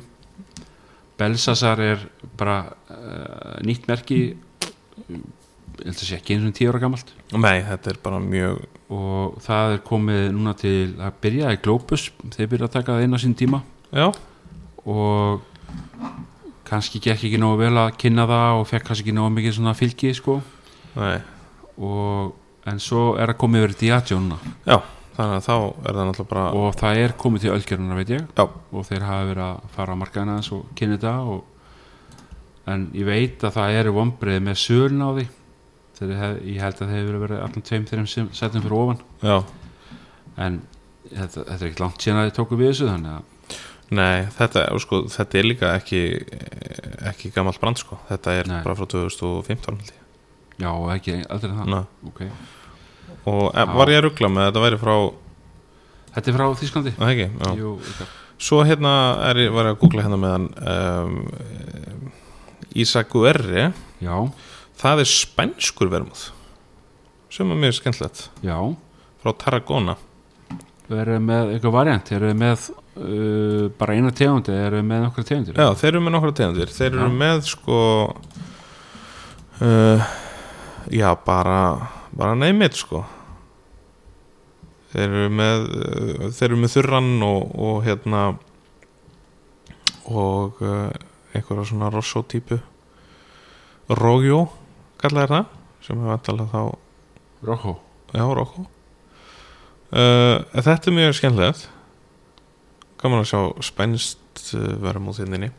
Belsasar er bara uh, nýtt merki ég held að sé ekki eins og 10 ára gamalt
nei, þetta er bara mjög
og það er komið núna til að byrja í Globus þeir byrja að taka það inn á sín tíma
Já,
og kannski gekk ekki nógu vel að kynna það og fekk kannski ekki nógu mikið svona fylgi sko
nei
og, en svo er að komið verið Diageo núna
Já, þannig að þá er það náttúrulega bara
og það er komið til ölgerðunar veit ég
Já,
og þeir hafa verið að fara á markaðina aðeins og kynna þetta og, en ég veit að það eru vombriði með sölun á því þeir, hef- ég held að þeir hefur verið allan tveim þeirrim sem setjum fyrir ofan
já,
en þetta, þetta er ekkert langt síðan að þeir tóku við þessu þannig að
Nei, þetta, sko, þetta er líka ekki ekki gamalt brand sko. þetta er
Nei.
bara frá 2015 held ég.
Já, ekki, aldrei það
Ná.
Ok.
og e,
Já.
var ég að ruggla með að þetta væri frá
Þetta er frá Þísklandi
Nei, ekki, já.
Jú, ykkar.
svo hérna er, ég- var ég að googla hérna með hann um, Ísaku Erri
já,
það er spænskur vermúð sem er mjög skemmtilegt
já
frá Tarragona
Eru þið með eitthvað variant, eru þið með uh, bara eina tegund eða eru þið með nokkra tegundir
Já, þeir eru með nokkra tegundir Þeir eru
Já.
með sko uh, Já, bara bara neymit sko Þeir eru með uh, þeir eru með þurran og, og hérna og uh, einhverja svona rosso típu Rógjó kallaði það sem hefur vantalega þá
Rokko,
Já, Rokko uh, Þetta er mjög skemmtilegt Gaman að sjá spænst uh, vera múð þinninni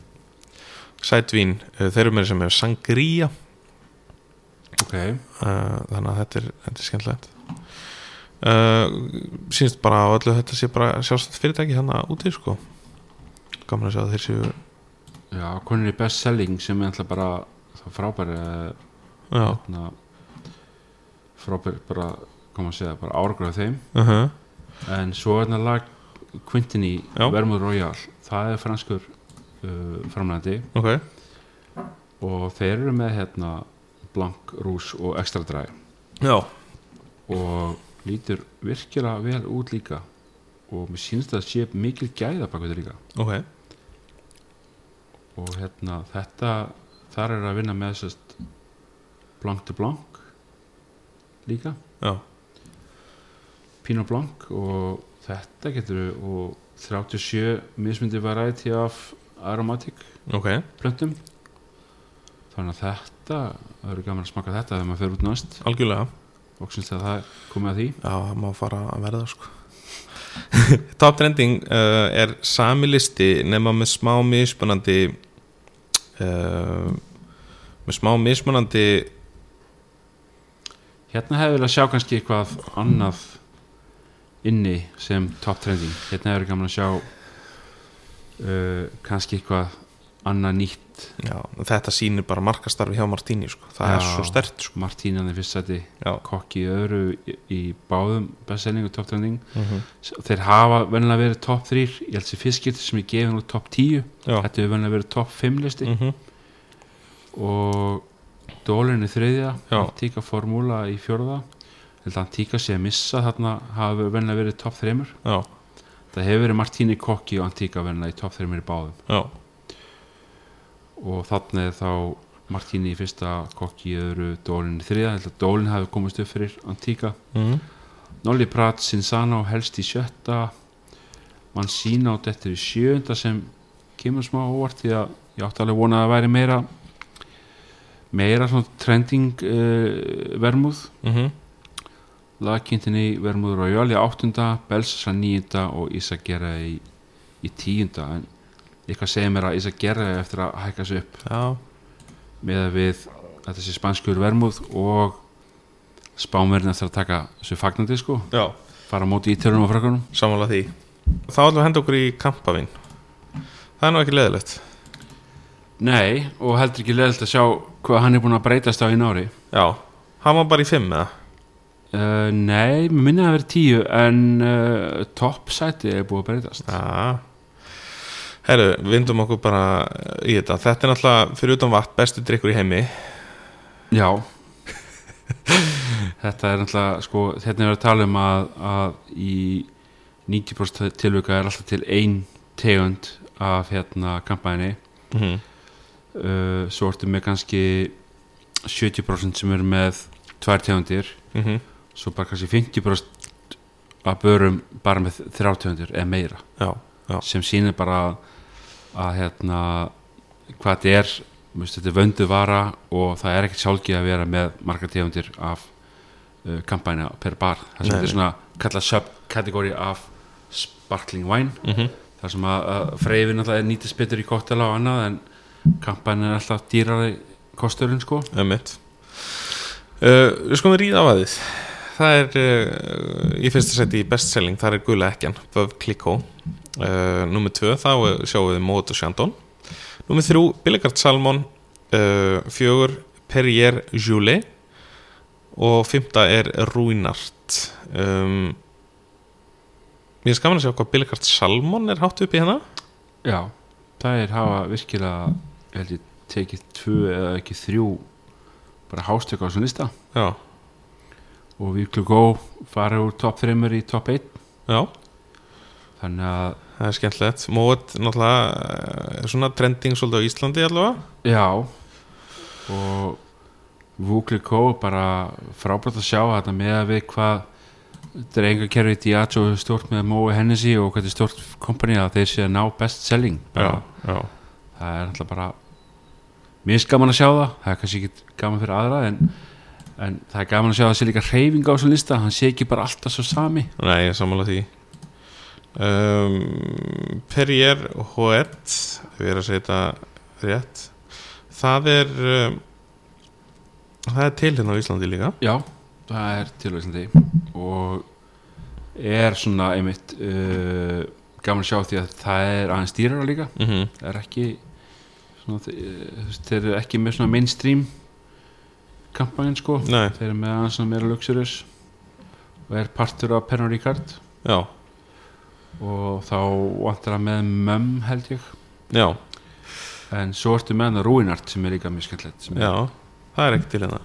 Sætvín, uh, þeir eru mér sem er sangría uh,
ok
Eh, Þannig að þetta er, þetta er skemmtilegt uh, Sýnst bara á öllu þetta sé bara sjálfstætt fyrirtæki hana úti sko Gaman að sjá að þeir séu
Já, hvernig er best selling sem er alltaf bara það frábæri eh,
Já,
hérna, frábæri bara, koma að segja, bara áragur af þeim
uh -huh.
en svo er þetta lag Quintini,
Já.
Vermouth Royal það er franskur uh, framlændi
ok
og þeir eru með hérna blank, rús og extra dry
Já,
og lítur virkilega vel út líka og mér sínst að sé mikil gæða bak við þetta líka
ok
og hérna þetta þar er að vinna með sérst blank to blank líka
Já,
Pinot Blanc og þetta getur við og 37 mismyndi variety af aromatic
ok
plöntum þannig að þetta það eru gaman að smaka þetta þegar maður fer út næst
Algjörlega
og syns að það komið að því
Já, það má fara að verða sko [laughs] Top trending uh, er sami listi nema með smá mismunandi uh, með smá mismunandi
hérna hefur við að sjá kannski eitthvað annað inni sem top trending hérna hefur við gaman að sjá uh, kannski eitthvað annað nýtt
já, þetta sýnir bara markastarfi hjá Martíni sko. það er
Já.
svo stert sko.
Martínan í fyrst sæti
Já.
kokki í öðru í, í báðum bestselling og top trending
mm -hmm.
þeir hafa vennilega verið top 3 ég held sér fyrstskipti sem ég gefið nú top 10
Já. Mhm.
þetta hefur vennilega verið top 5 listi og dólinni þriðja
Mm. Já.
antíka formúla í fjórða Ég held að antíka sé að missa þarna hafa vennilega verið top 3
já,
það hefur verið Martíni Kokki og antíka vennilega í top 3 í báðum
já,
og þarna er þá Martíni í fyrsta Kokki í öðru dólinni þriðja Ég held að dólinn hafi komist upp fyrir antíka
mm
Nolli Prat, Sinsano helst í sjötta Mansino dettur í sjöunda sem kemur smá óvart því að ég átti alveg vona að það væri meira meira svona trending uh, vermúð
Mhm.
lagkynntinni vermúð Royal í áttunda, Belsasa nýjunda og Isagera í, í tíunda en eitthvað segir mér að Isagera eftir að hækka sig upp
já,
með að við að þessi spanskur vermúð og spámverðin eftir að taka þessu fagnandi sko,
já,
fara á móti ítölunum og frakunum
samanlega því þá ætlum við að henda okkur í kampavín það er nú ekki leðilegt
Nei, og heldur ekki leðilt að sjá hvað hann er búin að breytast á einu ári
já, hann var bara í fimm eða
uh, Nei, mér minni að það verið tíu en uh, toppsæti er búið að breytast
Já Herru, vindum okkur bara í þetta Þetta er náttúrulega fyrir utan vatn bestu drikkur í heimi
Já [laughs] Þetta er náttúrulega sko, þetta er verið að tala um að, að í 90% tilvika er alltaf til ein tegund af hérna kampæni
mm -hmm.
uh, svo ertu með kannski 70% sem eru með tvær tegundir
Mm -hmm.
svo bara kannski 50% að börum bara með þrjár tegundir eða meira
Já,
sem sýnir bara að, að hérna, hvað þetta er mjöfst, þetta er vöndu vara og það er ekkert sjálfgeð að vera með margar tegundir af uh, kampæna per bar
Nei,
það sem þetta er
nei.
svona kallað subkategóri af sparkling wine
mm -hmm.
þar sem að, að freyfin alltaf er nýtist betur í kottela og annað en kampæna er alltaf dýrari kosturinn sko
emitt uh, Við skoðum ríða af að þið eh, Það er uh, í fyrsta seti í bestselling, það er gula ekkjan Vöf Klikó Uh, númer 2 þá er- sjáum við Mót og Chandon Númer 3 Billigard Salmon uh, 4 Perrier Joulet og 5 er Ruinart um, Mér er skaman að sjá hvað Billigard Salmon er hátt upp í hérna
Já, það er hafa virkilega held ég tekið tvö eða ekki þrjú bara hástöku á þessum lista
Já,
og við klukó fara úr top 3 í top 1
já
þannig að
Það er skemmtilegt. Mót náttúrulega eh, svona trending svolítið á Íslandi allavega.
Já og Vukli Kó bara frábært að sjá þetta með að við hvað drengakerfi Diageo er stort með Mói Hennessy og hvað er stort kompani að þeir sé að ná best selling bara,
já.
það er alltaf bara mjög gaman að sjá það það er kannski ekki gaman fyrir aðra en, en það er gaman að sjá að það sé líka reyfing á þessum lista hann sé ekki bara alltaf svo sami
Nei, ég er sammála því. Um, Perrier Hoet, ef ég er að segja þetta rétt, það er, um, það er til hérna á Íslandi líka.
Já, það er tilvægsandi og er svona einmitt uh, gaman að sjá því að það er aðeins dýrara líka
Mm -hmm.
það er ekki svona, þe- eh, þú veist, þeir eru ekki með svona mainstream kampanjinn sko
Nei,
þeir eru með aðeins svona meira luxurious og er partur af Pernod Ricard
já,
og þá vantar það með mömm held ég
já,
en svo ertu með hana Ruinart sem er líka mjög skemmtilegt sem
já,
er,
það er ekki til hérna.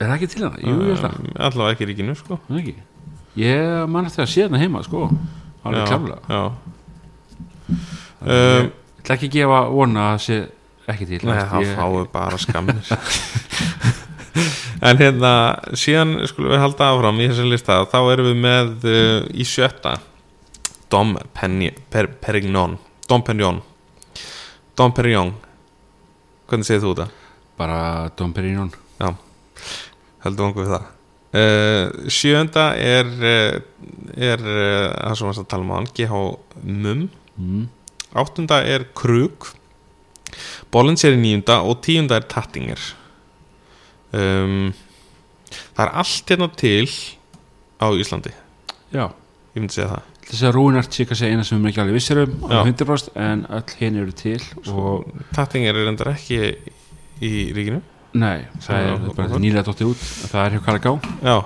er það ekki til hana? Jú, ég held það,
Um, Allavega ekki í ríkinu, sko.
er það ekki ég mann eftir að sé hana heima sko alveg
Já,
klálega
Já,
Þannig að
Um,
ég ætla ekki að gefa vona að það sé ekki til
Nei,
veist,
það
ég-
fáið
[laughs]
bara skammis En hérna síðan skulum við halda áfram í þessum lista þá erum við með uh, í sjötta Dom Penny, per, Perignon Dom Perignon Dom Perignon Hvernig segir þú þetta?
bara Dom Perignon
Heldur vangu við það uh, Sjönda er uh, er uh, það sem varst að tala um á hann GH Mum
mm.
Áttunda er Krug Bollins er í nýjunda og tíunda er Tattinger um, Það er allt hérna til á Íslandi
já
Ég myndi segja það
Þessi að Rúinart sé kannski eina sem við erum ekki alveg vissir um á
Já.
100% en öll hinn eru til og
Tattinger er endar ekki í ríkinu
nei,
Svo-
það er bara nýlega dottið út það er hjá Karagá,
Já,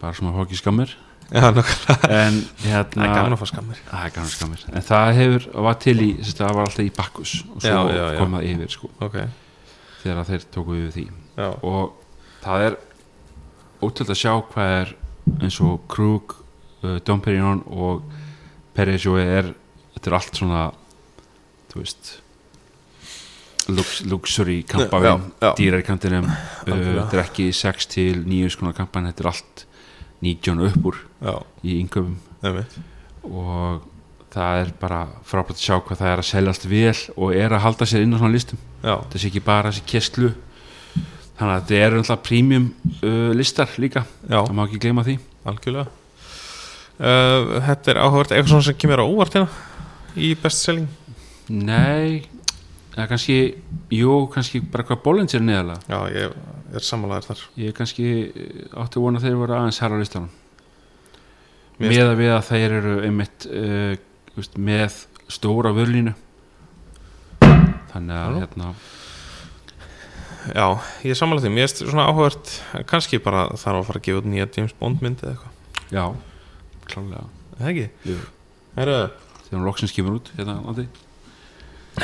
bara svona hóki skammir
já nokkala
en
[laughs] Það er gaman
hérna
að fá skammir
það er gaman skammir en það hefur, var til í, sem sagt, það var alltaf í Bakkus og svo
Já, já, já.
kom það yfir sko,
Ok,
þegar þeir tóku við því
já,
og það er ótrúld að sjá hvað er eins og Krug, uh, Dom Perignon og Perrier er þetta er allt svona þú veist lux, luxury kampavinn
Já, já.
dýrarkantinum uh,
Algjörlega.
þetta er ekki 6 til 9 skona kampan þetta er allt 19 upp úr
já,
í yngöfum
nefnir
og það er bara frábært að sjá hvað það er að seljast vel og er að halda sér inn á svona listum
Já,
þetta sé ekki bara þessi kestlu þannig að þetta eru alltaf premium uh, listar líka,
já,
það má ekki gleyma því
algjörlega uh, Þetta er áhugavert eitthvað svona sem kemur á óvart hérna í bestselling
nei, það er kannski jú, kannski bara hvað bólins er neðalega
Já, ég er sammálaður þar
ég kannski eh, átti vona þeir voru aðeins hær á listanum
Mér-
með að við að þeir eru einmitt uh, veist, með stóra vörlínu þannig að
Já.
hérna,
Já, ég er samanlega því, mér erst svona áhugavert kannski bara þarf að fara að gefa út nýja James Bond myndi eða eitthvað,
já klálega,
Er það ekki?
Jú.
Herru,
þegar hún loksins kemur út hérna, landi.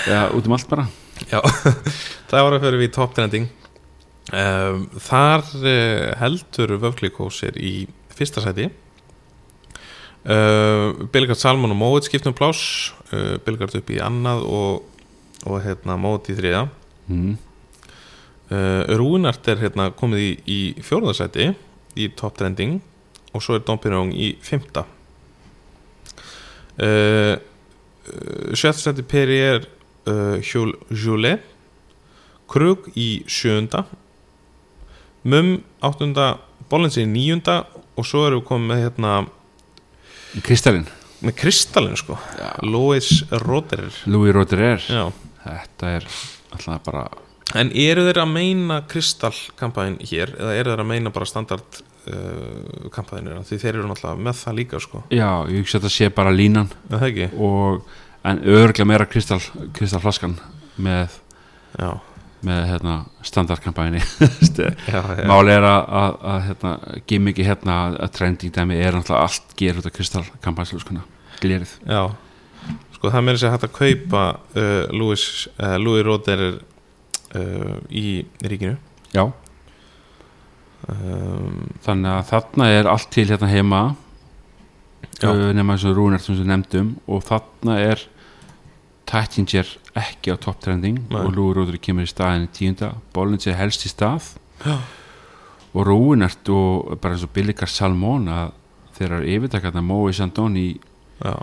ja, út um allt bara
það var að fyrir við í top trending um, Þar uh, heldur vöflikó sér í fyrsta sæti uh, Bilgard Salmon og Móit skiptum pláss uh, Bilgard upp í annað og, og hérna, Móit í þriða
mm.
uh, Rúnart er hérna komið í, í fjórðasæti í top trending og svo er Dompinjón í fymta uh, eh, sjöttasæti Peri er uh, Hjól Júle Krug í sjöunda Mum áttunda Bollins í níunda og svo erum við komið með hérna
Kristalinn
með Kristallin sko Lois Roderer
Louis Roderer
Já.
þetta er alltaf bara
En eru þeir að meina kristallkampæn hér eða eru þeir að meina bara standard uh, uh, kampaðinir því þeir eru náttúrulega með það líka sko.
já, ég hugsa að þetta sé bara línan
Er það ekki?
og, en örglega meira kristall, kristallflaskan með,
Já,
með hérna, standardkampæni
já, já,
máli er að, að, að hérna, gimmiki hérna að- að trending dæmi er náttúrulega allt gerur þetta kristallkampænslöskuna glerið
já. Sko það meira sér hægt að kaupa uh, Louis, uh, Louis Roder uh, í ríkinu
já,
um,
þannig að þarna er allt til hérna heima
Já.
uh, nema þessu rúnar sem við nefndum og þarna er Tattinger ekki á top trending
Nei.
og Lúi Róður kemur í staðin í tíunda Bollinger helst í stað
Já.
og Rúinart og bara eins og Billikar Salmón að þeirra yfirtakarna Mói Sandón í,
Já,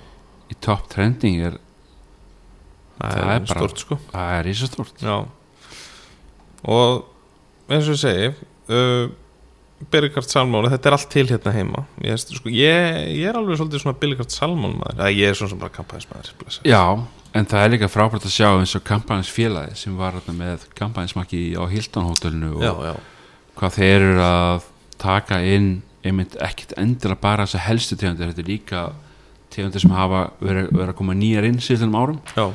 í top trending er,
það,
Það
er,
er bara-
stort sko
það er ísastort
Já Og eins og ég segi uh, Birgard Salmón Þetta er allt til hérna heima Ég, veist, sko, ég, ég er alveg svolítið svona Birgard Salmón maður Eða ég er svona sem bara kampæðismæður
já, en það er líka frábært að sjá eins og kampanins félagi sem var þarna með kampanismakki á Hilton hótelinu og
já, já,
hvað þeir eru að taka inn einmitt ekkit endilega bara þess að helstu tegundir þetta er líka tegundir sem hafa verið, verið að koma nýjar inn síðanum árum
já,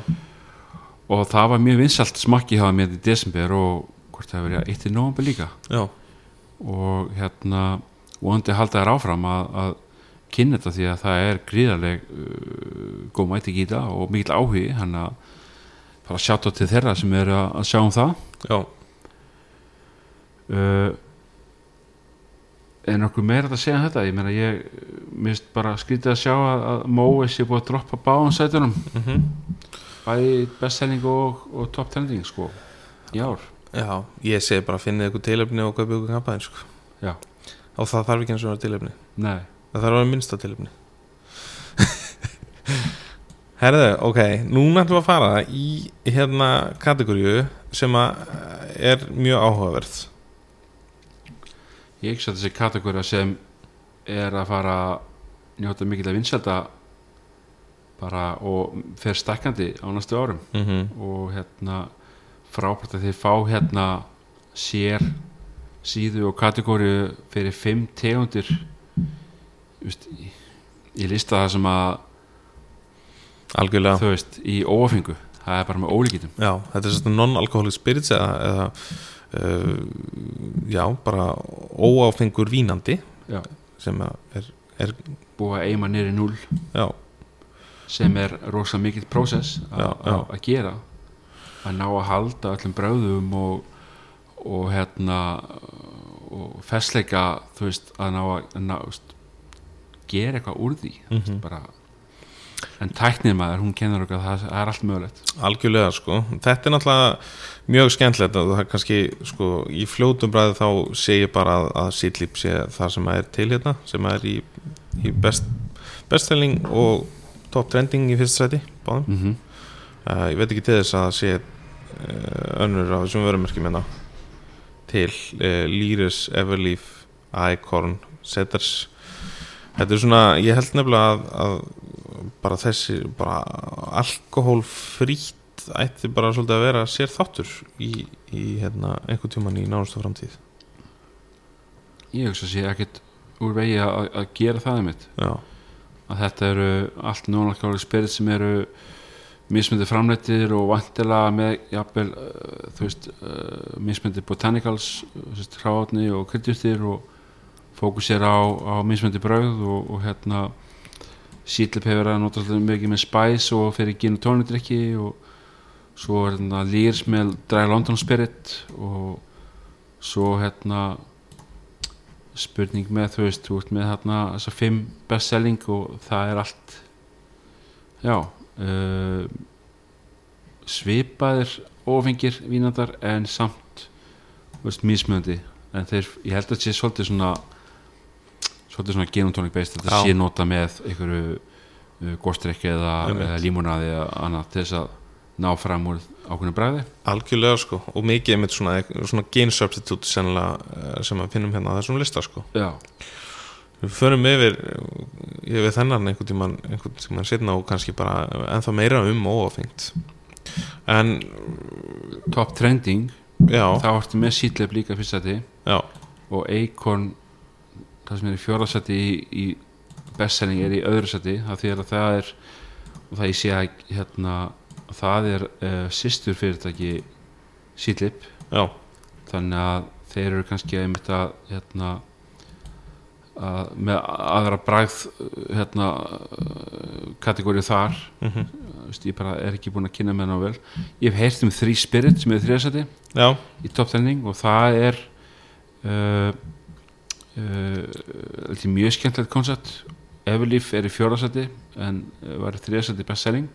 og það var mjög vinsalt smakki hafa mér í desember og hvort það hefur verið að eitt í nóvember líka
já,
og hérna vonandi halda þær áfram að, að kynna þetta því að það er gríðarleg uh, góð mæting í þetta og mikil áhugi hann að bara sjátt á til þeirra sem eru að að sjá um það
já.
uh, er nokkuð meira hægt að segja um þetta ég meina ég uh, mist bara skrítið að sjá að, að Móes er búið að droppa báðan sætunum
Mm
bæði bestselling og, og top trending sko í ár
já Ég segi bara finnið ykkur tilefni og kaupið ykkur kampæðin sko.
Já.
Og það þarf ekki eins og það tilefni
nei,
Það þarf að vera minnsta tilefni Herðu, ok, núna ætlum við að fara í hérna kategoríu sem að eh, er mjög áhugaverð
ég ekki að þessi kategóra sem er að fara að njóta mikil að vinselda bara og fer stækkandi á næstu árum
mm
og hérna frábært að þið fá hérna sér síðu og kategóriu fyrir fimm tegundir Vist, ég lista það sem að
Algjörlega
þú veist, í óafengu það er bara með ólíkitum
Já, þetta er svona non-alcoholic spirits eða, eða uh, já, bara óáfengur vínandi
Já.
sem að er,
búa eima nýri núl
já,
sem er rosa mikill prósess
Mhm. Já, já.
að gera að ná að halda öllum bröðum og, og hérna og festleika þú veist, að ná að, að ná, veist, gera eitthvað úr því mm
Mhm.
bara en tæknir maður, hún kennir okkur að það, það er allt mögulegt
algjörlega sko þetta er náttúrulega mjög skemmtilegt og það er kannski, sko, í fljótum bræði þá sé ég bara að, að sítlip sé það sem að er til hérna, sem að er í, í best, bestselling og top trending í fyrsta sæti báðum,
mm -hmm.
uh, ég veit ekki til þess að það sé uh, önnur af þessum vörumerkjum hérna til uh, Lýris, Everleaf Icorn, Setters þetta er svona, ég held nefnilega að, að bara þessi bara alkohólfrýtt ætti bara svolítið að vera sér þáttur í, í hérna, einhver tíman í nánustu framtíð
ég hugsa að sé ekkit úr vegi að, að gera það einmitt
já,
að þetta eru allt nónalkálega spirit sem eru mismyndi framleittir og vantilega með jafnvel, uh, þú veist uh, mismyndi botanicals eh, hráðni og kryddjurtir og fókusera á, á mismyndi brauð og, og hérna sítlip hefur verið að nota svolítið mikið með spice og fyrir gin og tónidrykki og svo er hérna lýrs með dry London spirit og svo hérna spurning með þú veist, þú ert með þarna þessar fimm bestselling og það er allt já uh, svipaðir ofengir vínandar en samt þú veist, mismöndi en þeir, ég held að þetta sé svolítið svona svolítið svona genotónik based þetta
Já.
sé nota með einhverju uh, góstrekki eða,
Einmitt.
eða límonaði eða annað til þess að ná fram úr ákveðinu bræði
algjörlega sko og mikið einmitt svona, svona gain substitute sennilega eh, sem að finnum hérna á þessum lista sko
já,
Við förum yfir, yfir þennan einhvern tímann einhvern tíman setna og kannski bara ennþá meira um óafengt en
top trending
já,
þá ertu með sítlef líka fyrst að
já,
og Acorn það það sem er í fjórðarsætti í, í bestselling er í öðru sætti af því að það er og það ég sé að hérna, það er uh, sýstur fyrirtæki sítlip
já,
þannig að þeir eru kannski einmitt að hérna að, með aðra bragð uh, hérna uh, kategóri þar
mhm
Vist, ég bara er ekki búin að kynna með hana vel ég hef heyrt um Three Spirit sem er þriðasæti
já,
í topptenning og það er uh, uh, þetta er mjög skemmtilegt koncept Everleaf er í fjórðasæti en uh, var í þriðasæti bestselling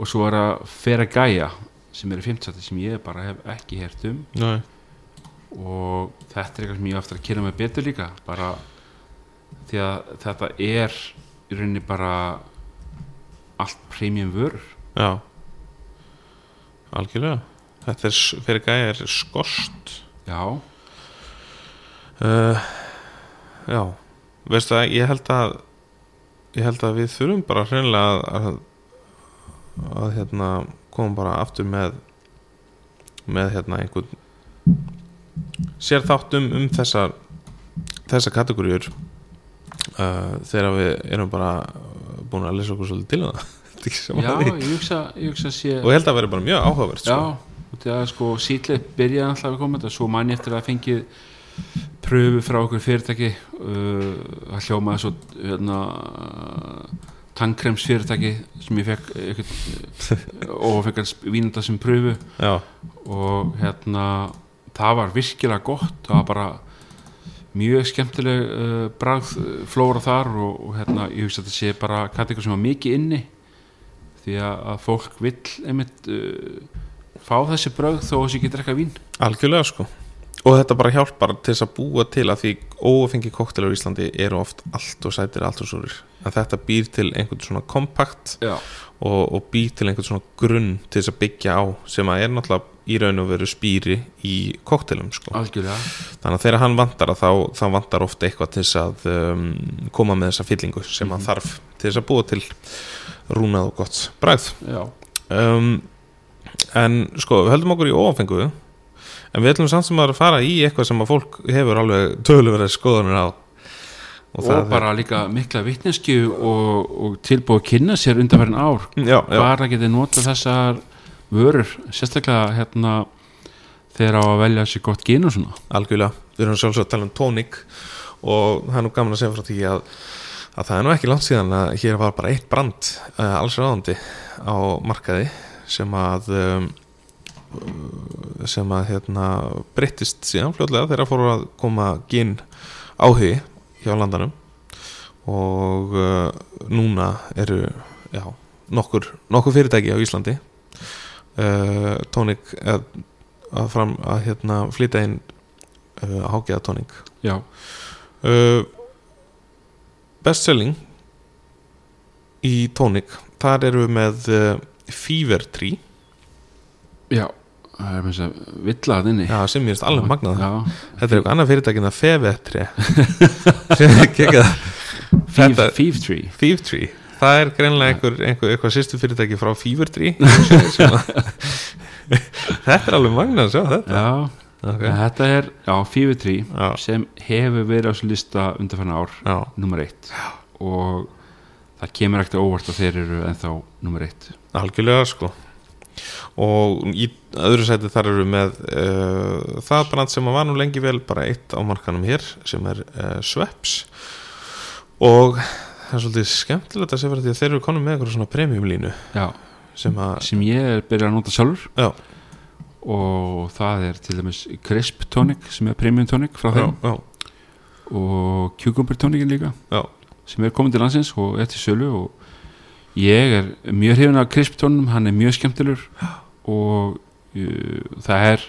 og svo er að Fera Gaia sem er í fimmtasæti sem ég bara hef ekki heyrt um
já,
og þetta er eitthvað sem ég á eftir að kynna mig betur líka bara því að þetta er í rauninni bara allt premium vörur
já algjörlega þetta er, s- fyrir gæja er skost
já,
uh, já veistu að ég held að ég held að við þurfum bara hreinlega að, að, að hérna komum bara aftur með með hérna einhvern sér þáttum um þessar þessar kategóriur uh, þegar við erum bara búin að lesa okkur svolítið til hana [laughs] Þetta er ekki sem
já
að því.
ég hugsa, ég hugsa að sé
og ég held að vera bara mjög áhugavert sko.
Já, og það er sko síðlega byrjaði alltaf að koma þetta svo mann ég eftir að fengið pröfu frá okkur fyrirtæki uh, að hljómaði svo hérna, tannkremsfyrirtæki sem ég fekk ekkert,
[laughs]
og fekk hans vínanda sem pröfu
já,
og hérna það var virkilega gott það var bara mjög skemmtileg uh, bragð uh, flóra þar og, og hérna ég hugsa að þetta sé bara kategóri sem var mikið inni því að, að fólk vill einmitt uh, fá þessi bragð þó að þessi getur eitthvað vín
algjörlega sko og þetta bara hjálpar til þess að búa til að því óafengi koktelar í Íslandi eru oft allt og sætir, allt og súrir en þetta býr til einhvern svona kompakt
Já,
og, og býr til einhvern svona grunn til þess að byggja á sem að er náttúrulega í raun og veru spýri í koktelum sko
algjörlega
þannig að þegar hann vantar að þá, þá vantar ofta eitthvað til þess að um, koma með þessa fyllingu sem hann þarf til þess að búa til rúnað og gott bræð
Já,
um, en sko, við höldum okkur í óafengu en við ætlum samt sem að fara í eitthvað sem að fólk hefur alveg töluverið skoðanir á
og, bara líka mikla vitneskju og, og tilbúið að kynna sér undanverðin ár
er, já, já,
bara getið nota þessar vörur, sérstaklega hérna þegar á að velja sér gott gin og svona
algjörlega við erum sjálfsög að tala um tónik og það er nú gaman að segja frá því að að það er nú ekki langt síðan að hér var bara eitt brand uh, alls ráðandi á markaði sem að um, sem að hérna breyttist síðan fljótlega þegar fóru að koma ginn áhugi hjá landanum og uh, núna eru já, nokkur, nokkur fyrirtæki á Íslandi uh, tónik að, að fram að hérna flytja inn uh, hágeða tónik
Já,
uh, bestselling í tónik þar eru við með uh, Fever Tree
já, það er mér sem villar þinni
já, sem ég veist alveg magnað
Já,
þetta er eitthvað annað fyrirtækin að
[laughs]
Fevetri sem er kekað
Thief,
Þetta-
Thief Tree
Fever Tree það er greinlega einhver, einhver, einhver sýstu fyrirtæki frá Fever
[laughs]
Tree sem- sem að- [laughs] þetta er alveg magnað að sjá þetta
Já,
okay.
þetta er já, Thief Tree
Já.
sem hefur verið á þessu lista undanfann ár
já,
nummer eitt og það kemur ekkert á óvart að þeir eru ennþá nummer eitt
algjörlega sko og í öðru sæti þar eru við með uh, það brand sem var nú lengi vel bara eitt á markanum hér sem er uh, Sveps og það er svolítið skemmtilegt að segja fyrir því að þeir eru konum með eitthvað svona premiumlínu
Já,
sem að,
sem ég er byrjað að nota sjálfur
já,
og það er til dæmis Crisp Tonic sem er Premium Tonic frá
já,
þeim
já,
og Cucumber Tonicin líka
já,
sem er komin til landsins og er til sölu og ég er mjög hrifin af krisptónum, hann er mjög
[gasps]
skemmtilegur og uh, það er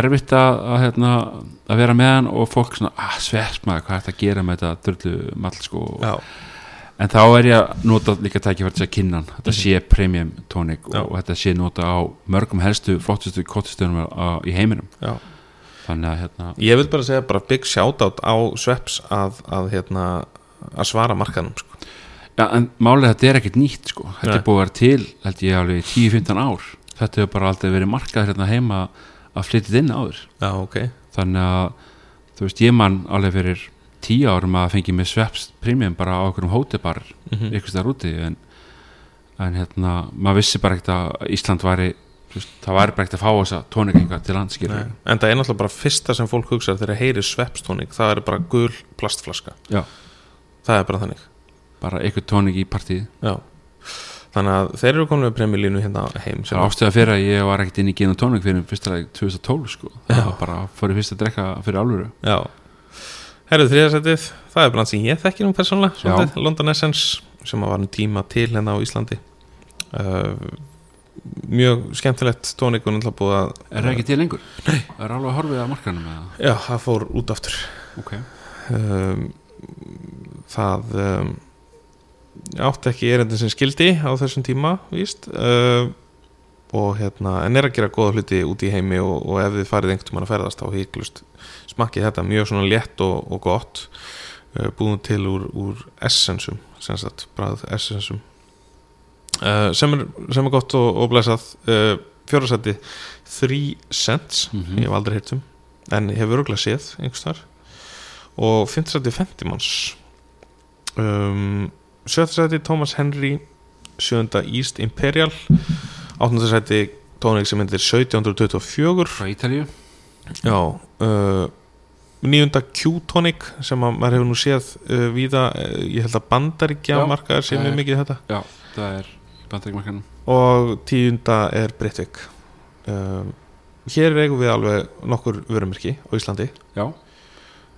erfitt að, að, hérna, að vera með hann og fólk svona, ah, svert maður, hvað er þetta að gera með þetta drullu mall sko
já,
en þá er ég að nota líka tækifært þess að kynna hann, þetta sé premium tónik og,
Mhm. Já.
þetta sé nota á mörgum helstu flottustu kottustunum í heiminum
já.
þannig að hérna,
ég vil bara segja bara big shoutout á Sveps að, að hérna að svara markanum sko.
Já, en málið þetta er ekkert nýtt sko. Þetta
Nei.
er búið að vera til, held ég, alveg í 10-15 ár Þetta hefur bara aldrei verið markað hérna heima að flytja inn áður
já, ok,
Þannig að, þú veist, ég mann alveg fyrir tíu árum að fengi með sveps premium bara á okkur um hótebar
Mhm.
ykkur stær úti en, en hérna, maður vissi bara ekkert að Ísland væri þú veist, það væri bara ekkert að fá þessa tónikengar til landskir
Nei. en það er náttúrulega bara fyrsta sem fólk hugsa þegar það heyri sveppstónik, það er bara gul plastflaska
Já.
það er bara þannig
bara einhver tónik í partíð
Já. þannig að þeir eru komin með premjulínu hérna heim
það er ástæða fyrir að ég var ekkert inn í gen og tónik fyrir fyrsta 2012 sko það var bara fyrir fyrst að drekka fyrir alvöru
Já Herðu þriðarsætið, það er brand sem ég þekki nú persónlega
Já.
svolítið, London Essence sem var um tíma til hérna á Íslandi uh, Mjög skemmtilegt tónikun alltaf búið að
er það ekki til lengur? Nei. er alveg horfið að markanum eða?
Já, það fór út aftur
ok,
um, Það um, átti ekki erindin sem skildi á þessum tíma víst uh, og hérna, en er að gera góða hluti út í heimi og, og ef þið farið einhvern tímann að ferðast þá hýklust smakkið þetta mjög svona létt og, og gott uh, búin til úr, úr essensum sem sagt, bræð essensum uh, sem, er, sem er gott og, og blessað uh, fjórasætti 3 cents
Mhm.
ég hef aldrei heyrt um en hefur örgulega séð einhvers þar og 5. sætti Fentimans um, 7. sætti Thomas Henry 7. East Imperial 8. sætti tónik sem myndir 1724
frá Ítalíu
Já uh, Nýjunda Q-tonic sem að maður hefur nú séð uh, víða, uh, ég held að bandaríkja
Já.
markaðar sé mjög
Nei.
mikið þetta
já, það er í bandaríkmarkanum
og tíunda er Brittvik um, Hér eigum við alveg nokkur vörumirki á Íslandi
Já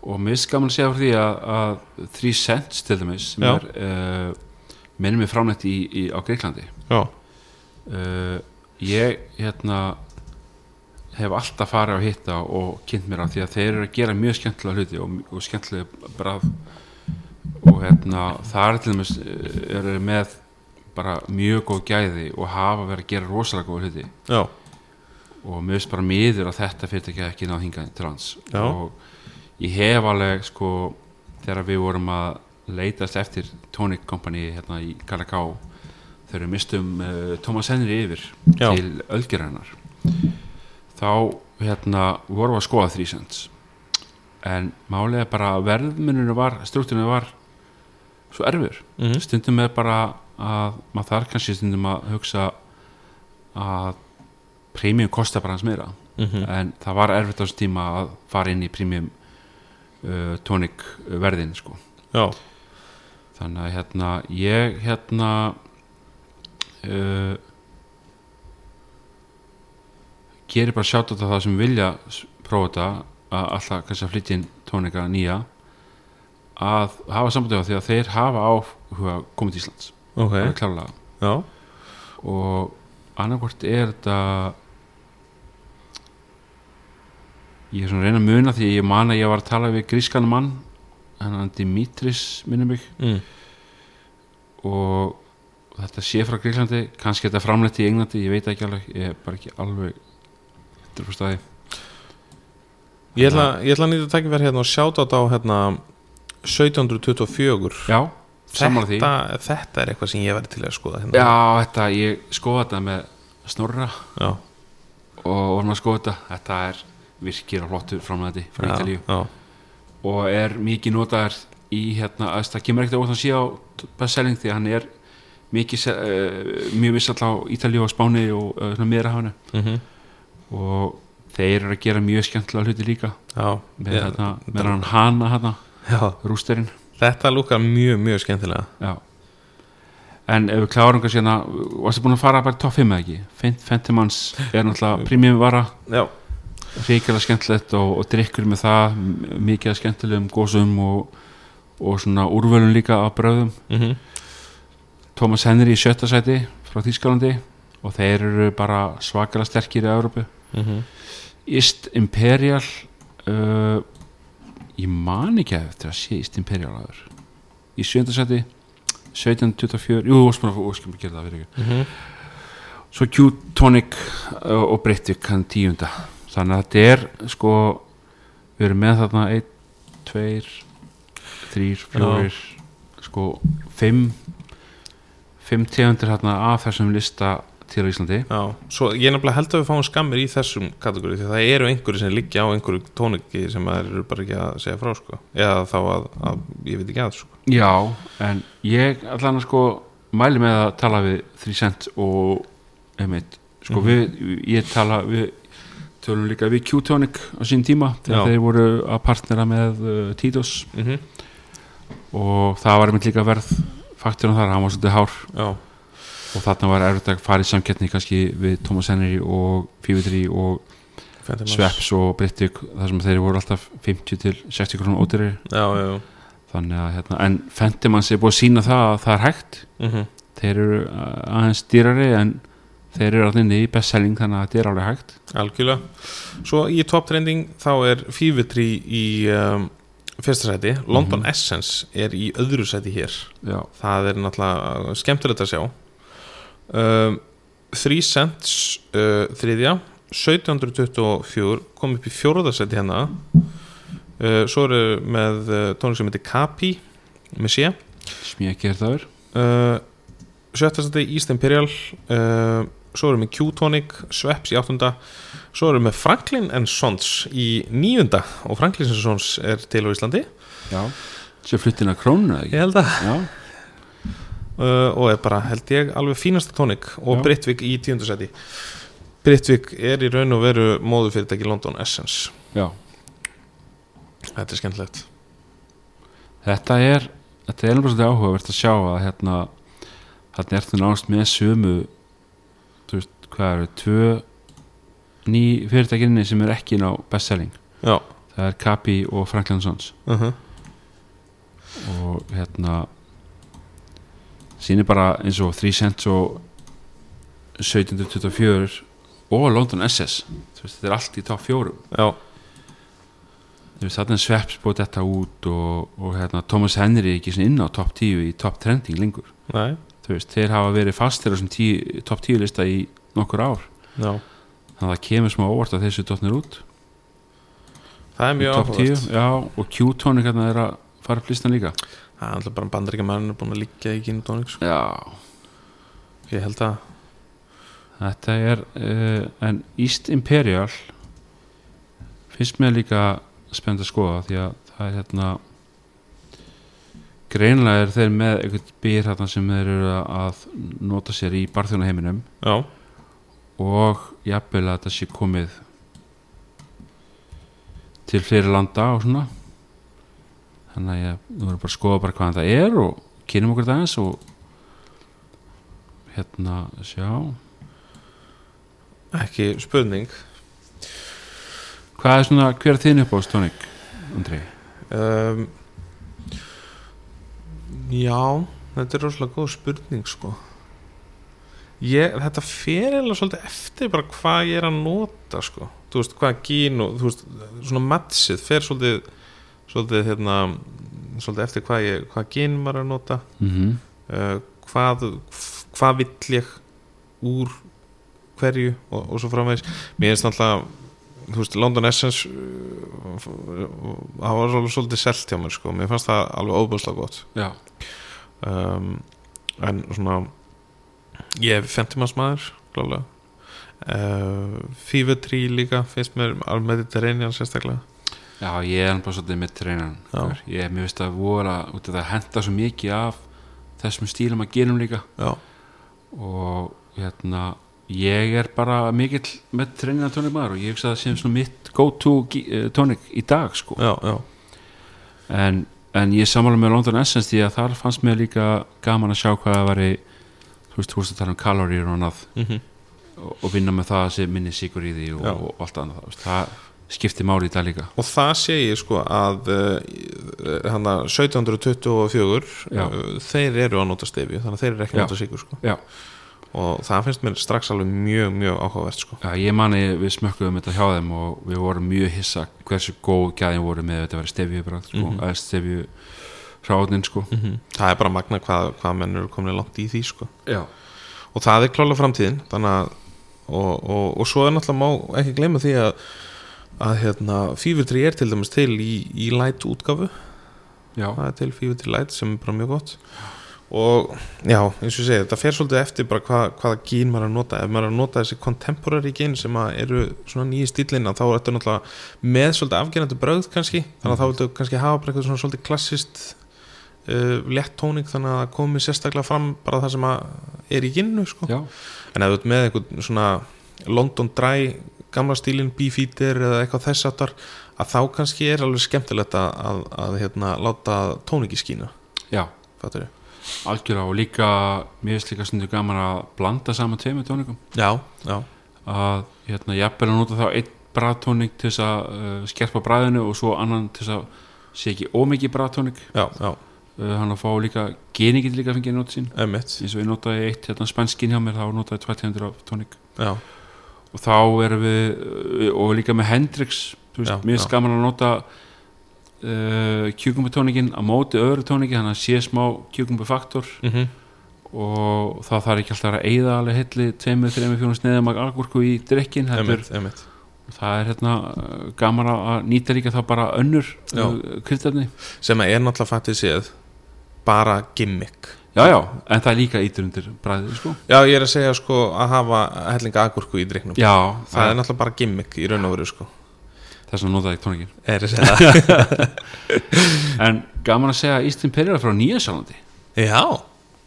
og mér finnst gaman að segja frá því að, að 3 cents til dæmis sem
Já.
er uh, minnum við frámleitt í, í, á Greiklandi
Já,
uh, ég hérna hef alltaf farið að hitta og kynnt mér á því að þeir eru að gera mjög skemmtilega hluti og, og skemmtilega brað og hérna það er til dæmis eh, eru með bara mjög góð gæði og hafa verið að gera rosalega góð hluti
já,
og mér finnst bara miður að þetta fyrirtæki hafi ekki náð hingað til hans
Já.
og ég hef alveg sko þegar við vorum að leitast eftir Tonic Company hérna í Galaká þegar við mistum uh, Thomas Henry yfir
Já.
til Ölgerannar þá hérna vorum við að skoða þrísends en málega bara að verðmuninu var struktúrinu var svo erfur
Mhm.
stundum er bara að maður þarf kannski stundum að hugsa að premium kostar bara hans meira
Mhm.
en það var erfitt á þessum tíma að fara inn í premium uh, tónik verðin sko
já,
þannig að hérna ég hérna uh, gerir bara sjátt á það sem vilja s- prófa þetta að alltaf kannski að flytja inn tónika nýja að hafa sambandið á því að þeir hafa áhuga komið til Íslands
ok
alveg klárlega
Já,
og annarkvort er þetta ég er svona að reyna að muna því ég man að ég var að tala við grískan mann hann Dimitris minnum mig
mm.
og þetta sé frá Gríklandi kannski þetta framleitt í Englandi, ég veit ekki alveg ég er bara ekki alveg þetta er bara staði
ég, ætla, ég ætla að nýta að taka verið hérna og sjáta á hérna 1724
já, sammála því
þetta, þetta er eitthvað sem ég verið til að skoða hérna
já, þetta, ég skoða þetta með snorra
já,
og vorum að skoða þetta þetta er virkir og flottur framleiti frá
já,
Ítalíu
já.
og er mikið notaðar í hérna, að það kemur ekkert óvart að sé á bestselling því að hann er mikið, uh, mjög vissall á Ítalíu og Spáni og uh, meðrahafinu
Mm
og þeir eru að gera mjög skemmtilega hluti líka
já,
með,
ég-
hérna, með hann hana hérna, hana,
já.
rústerinn
Þetta lúkar mjög, mjög skemmtilega
já. en ef við klárum kannski hérna, varstu búin að fara bara í topp 5 eða ekki Fent- Fentimans er náttúrulega prímjum vara,
Já,
ríkilega skemmtilegt og, og drikkur með það, m- mikið af skemmtilegum gósum og, og svona úrvölun líka af bröðum
mm
Thomas Henry í sjötta sæti frá Þýskalandi og þeir eru bara svakalega sterkir í Európu
Mhm.
East Imperial uh, ég man ekki að eftir að sé East Imperial aður í sjöndasæti 1724, jú, ósmann og óskum að gera það fyrir ekki
Mhm.
svo Q-Tonic uh, og Breitvik hann tíunda, þannig að þetta er sko, við erum með þarna 1, 2 3, 4 sko 5 5 tegundir hérna af þessum lista til á Íslandi
Já, svo ég nefnilega held að við fáum skammir í þessum kategóri því að það eru einhverju sem liggja á einhverju tóniki sem maður eru bara ekki að segja frá sko. eða þá að, að ég veit ekki að sko.
Já, en ég allan að sko mæli með að tala við 3 cent og einmitt, sko við, ég tala við tölum líka við Q-Tonic á sín tíma
Já.
þegar þeir voru að partnera með uh, Titos
mm -hmm.
og það var einmitt líka verð fakturinn þar, hann var svolítið hár
Já,
og þarna var erfitt að fara í samkettni kannski við Thomas Henry og Fífitri og
Phantom Hource.
Sveps og Brittig þar sem þeir voru alltaf 50 til 60 krónum ótyrir
Já, já, já
þannig að hérna, en Fentimans er búið að sína það að það er hægt
mm
þeir eru uh, aðeins dýrari en þeir eru allir niður í bestselling þannig að þetta er alveg hægt
Algjörlega Svo í top trending þá er Fífitri í um, fyrsta sæti London Essence er í öðru sæti hér
já,
það er náttúrulega skemmtilegt að sjá um, 3 cents uh, þriðja 1724 kom upp í fjórðasæti hérna uh, svo eru með uh, tónlist sem heitir Kapi með sé
smjöki er það er
uh, sjöttasæti East Imperial uh, svo eru með Q-Tonic Sveps í áttunda svo eru með Franklin and Sons í níunda og Franklin and Sons er til á Íslandi
já, sem fluttina krónu eða
ég
ekki
held að
já,
uh, og er bara held ég alveg fínasta tónik og
Já.
Brittvik í tíundasæti Brittvik er í raun og veru móðufyrirtæki London Essence
já,
þetta er skemmtilegt
þetta er þetta er alveg svolítið áhugavert að sjá að hérna, þarna er þetta náðast með sömu þú veist, hvað eru, tvö ný fyrirtækinni sem er ekki inn á bestselling
já,
það er Kapi og Franklin Sons
uh
og hérna sýnir bara eins og 3 cents og 1724 og London SS Þú veist, þetta er allt í top 4
já,
þarna er Sveps búið þetta út og, og hérna, Thomas Henry er ekki svona inn á top 10 í top trending lengur
næ,
Þú veist, þeir hafa verið fastir á þessum 10 top 10 lista í nokkur ár
já
þannig að það kemur smá óvart að þessu dotnir út
það er
í
mjög
top 10
áhugast
já, og Q-tónu hérna er að fara upp listan líka
það er alltaf bara bandaríkja mann er búin að liggja í kínu tónik sko.
já,
ég held að
Þetta er uh, en East Imperial finnst mér líka spennt að skoða því að það er hérna greinlega er þeir með einhvern býr hérna sem þeir eru að nota sér í barþjónaheiminum
já,
og jafnvel að þetta sé komið til fleiri landa og svona þannig að ég, nú erum bara að skoða bara hvaðan það er og kynum okkur það eins og hérna sjá
ekki spurning
Hvað er svona, hver er þín uppáðs tónik, Andri?
um, já þetta er rosalega góð spurning sko ég, þetta fer eða svolítið eftir bara hvað ég er að nota sko, þú veist, hvað gín og þú veist, svona matsið fer svolítið svolítið hérna svolítið eftir hvað, ég, hvað gín maður er að nota
Mm -hmm.
uh, hvað hvað vill ég úr hverju og, og svo framvegis mér finnst alltaf þú veist, London Essence uh, f- það var alveg svolítið selt hjá mér sko, mér fannst það alveg óbúðslega gott
Já.
um, en svona ég er 50 manns maður klálega uh, Fífutrí líka finnst mér alveg með þetta reynjan sérstaklega
Já, ég er bara svolítið mitt reynan.
Já.
Ég mér veist að vola, út af það henda svo mikið af þessum stílum að gerum líka
já,
og hérna, ég er bara mikill mitt reynan tónik maður og ég hugsa að það sem svona mitt go-to gí- eh, tónik í dag, sko.
já, já,
En, en ég samála með London Essence því að þar fannst mér líka gaman að sjá hvað það væri, þú veist, þú veist að tala um kaloríur og annað
mm -hmm.
og, og vinna með það sem minni sigur í því og,
Já.
og allt annað þú veist, það skiptir máli í dag líka
og það sé ég sko að eh, hana, 1724
Já.
uh, þeir eru að nota stefju þannig að þeir eru ekki
Já.
að nota sigur sko.
já.
og það finnst mér strax alveg mjög mjög áhugavert sko.
ég mani við smökkuðum þetta hjá þeim og við vorum mjög hissa hversu góð gæðin voru með þetta verið stefju bara, sko, mm
Mhm.
stefju hráðnin sko.
það er bara magna hvað, hvað menn eru komin langt í því sko.
já,
og það er klála framtíðin þannig að og, og, og svo er náttúrulega má ekki gleyma því að að hérna, fýfurtri er til dæmis til í, í light útgafu
já,
það er til fýfurtri light sem er bara mjög gott og já, eins og ég segi, þetta fer svolítið eftir bara hvað, hvaða gín maður er að nota ef maður er að nota þessi contemporary gín sem að eru svona nýji stílina þá er þetta náttúrulega með svolítið afgerandi bröð kannski, þannig að þá viltu kannski hafa bara eitthvað svona svolítið klassist uh, lett tóning þannig að það komi sérstaklega fram bara það sem að er í ginnu sko.
já,
en ef þú ert með eitthvað svona London Dry gamla stílinn, Beefeater eða eitthvað þess aftar að þá kannski er alveg skemmtilegt að, að, að hérna, láta tóningi skína
já,
fattur ég
algjörlega og líka mér finnst líka stundu gaman að blanda saman tveimur tónikum
Já, já,
að hérna, jafnvel að nota þá einn bræðtónik til þess að uh, skerpa bræðinu og svo annan til þess að sé ekki ómikið bræðtónik
já, já,
uh, hann að fá líka, geni getur líka að fengið nota sín
emitt
eins og ég notaði eitt hérna, spænskinn hjá mér þá notaði 200 tónik
Já,
og þá erum við uh, og líka með Hendrix
Já,
þú veist,
já.
mér finnst gaman að nota uh, kjúkumbutónikin á móti öðru tóniki, þannig að sé smá kjúkumbufaktor
mm -hmm.
og það þarf ekki alltaf að vera að eyða alveg helli 2-3-4 sneiðum að algúrku í drikkin heldur,
emitt, emitt
það er hérna uh, gaman að- að nýta líka það bara önnur
Já.
uh, kryddefni,
Sem að er náttúrulega fattið séð bara gimmick
já já en það er líka ítur undir bræðið sko
Já, ég er að segja sko að hafa hellinga agurku í driknum
já,
Það er náttúrulega bara gimmick í raun og veru sko
þess að notaði tónikin
Er að [laughs] segja það
en gaman að segja að Ístin Perira frá Nýjasálandi
Já,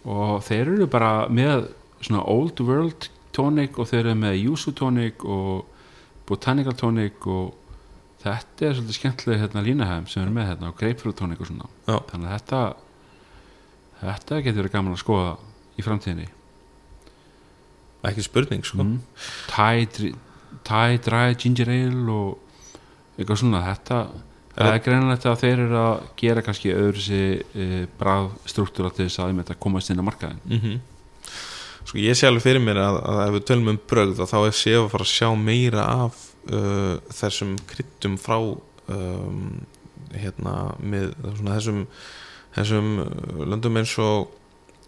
og þeir eru bara með svona old world tonic og þeir eru með yuzu tonic og botanical tonic og þetta er svolítið skemmtileg hérna línahæm sem er með hérna og grapefruit tonic og svona
Já.
þannig að þetta þetta getur verið gaman að skoða í framtíðinni
ekki spurning sko
mm. Thai, dri- Thai dry ginger ale og eitthvað svona þetta það er greinilegt að þeir eru að gera kannski öðru sér e, bráð struktúra til þess að einmitt að komast inn á markaðin
mm Sko ég sé alveg fyrir mér að, að ef við tölum um brögð að þá er séð að fara að sjá meira af uh, þessum kryttum frá um, hérna með svona, þessum, þessum uh, löndum eins og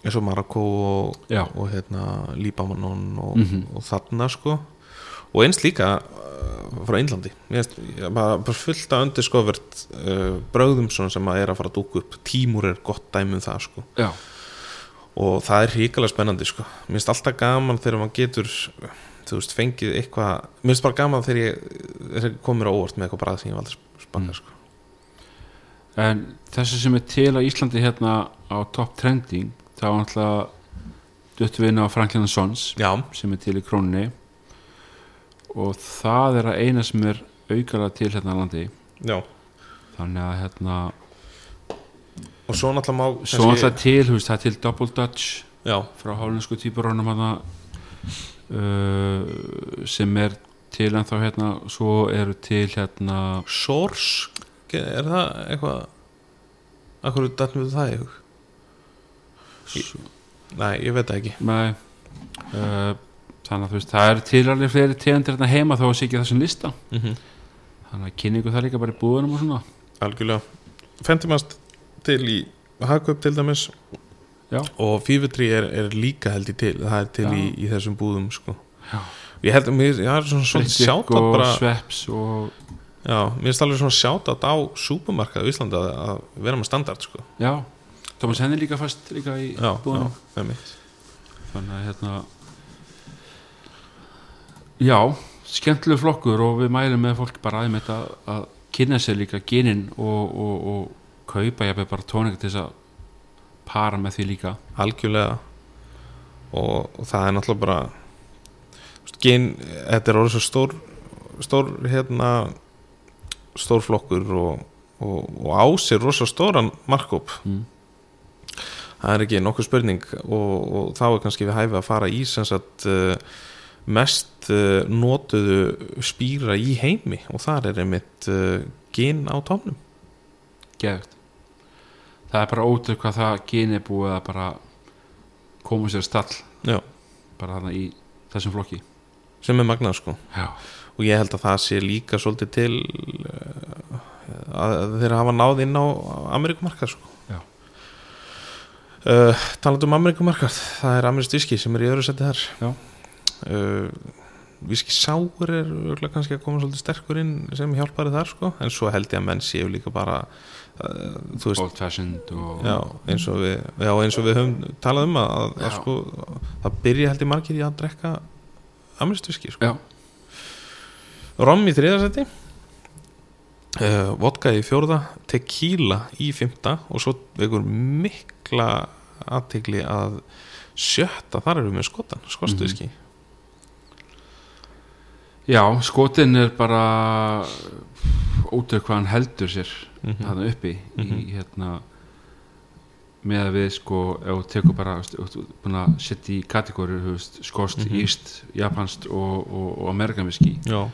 eins og Marokko og,
Já.
og hérna Líbamanon og,
Mhm.
og þarna sko og eins líka uh, frá Einlandi Mér finnst- ég- bara, bara fullt að undir skofvert uh, brögðum svona sem að er að fara að dúka upp tímur er gott dæmi um það sko
já,
og það er hrikalega spennandi sko. mér finnst alltaf gaman þegar maður getur þú veist, fengið eitthvað mér finnst bara gaman þegar ég þegar ég kom mér á óvart með eitthvað bara sem ég valdur spanna sko.
En þessi sem er til á Íslandi hérna á top trending þá er náttúrulega döttu við inn á Franklin Sons
Mm. já,
sem er til í krónunni og það er að eina sem er aukala til hérna á landi
já
þannig að hérna
og svo náttúrulega má
svo alltaf til, þú veist, það er til Double Dutch
já,
frá hálfinsku týpurónum hana uh, sem er til en þá hérna svo eru til hérna
source Ge- er það eitthvað að hverju dættum við það í hug nei, ég veit það ekki
Nei uh, Þannig að þú veist, það eru til alveg fleiri tegundir hérna heima þó að sé ekki á þessum lista
mm -hmm.
Þannig að kynningu það líka bara í búðunum og svona
algjörlega fentimast til í Hagkaup til dæmis
Já.
og Fífutri er, er líka held ég til það er til
Já.
í, í þessum búðum sko.
Já.
ég held að mér já, svona, svona
Frikk
sjátt
og
bara,
sveps og
já, mér er alveg svona sjátt á súpermarkað í Íslandi að, að vera með standard sko.
Já, Thomas Henni líka fast líka í
já, já,
búðunum
einmitt.
Þannig að hérna Já, skemmtileg flokkur og við mælum með fólk bara aðeim þetta að kynna sér líka gynin og, og, og kaupa jafnveg bara tónika til þess að para með því líka
algjörlega og, og það er náttúrulega bara þú veist, gen, þetta er orðið svo stór stór hérna stór flokkur og, og, og á sér rosa stóran markop
Mm.
það er ekki nokkuð spurning og, og þá er kannski við hæfi að fara í sem sagt uh, mest uh, notuðu spýra í heimi og þar er einmitt uh, gen á tómnum
geðvægt það er bara ótrúð hvað það geni er búið að bara koma sér stall
Já.
bara þarna í þessum flokki
sem er magnað sko
já,
og ég held að það sé líka svolítið til eh, að að þeir hafa náð inn á Amerikumarkað sko.
Já.
uh, talandi um Amerikumarkað það er Amerist Viski sem er í öðru seti þar
Já.
uh, viski sáur er örugglega kannski að koma svolítið sterkur inn sem hjálpari þar sko en svo held ég að menn séu líka bara uh, þú veist
old fashioned og
já, eins og við, já, eins og við höfum talað um að, að, að
Já.
sko það byrja held ég margir í að drekka amristviski sko
Já.
Rom í þriðarsæti uh, Vodka í fjórða Tequila í fymta og svo vekur mikla aðtegli að sjötta þar eru við með skotan, skotstuðski
já, skotin er bara ótrúð hvað hann heldur sér
Mhm.
þarna uppi í hérna með að við sko ef þú tekur bara þú veist, þú ert búin að setja í kategóri veist, skost, mm
Mhm.
íst, japanst og, og, og amerikanviski
Já,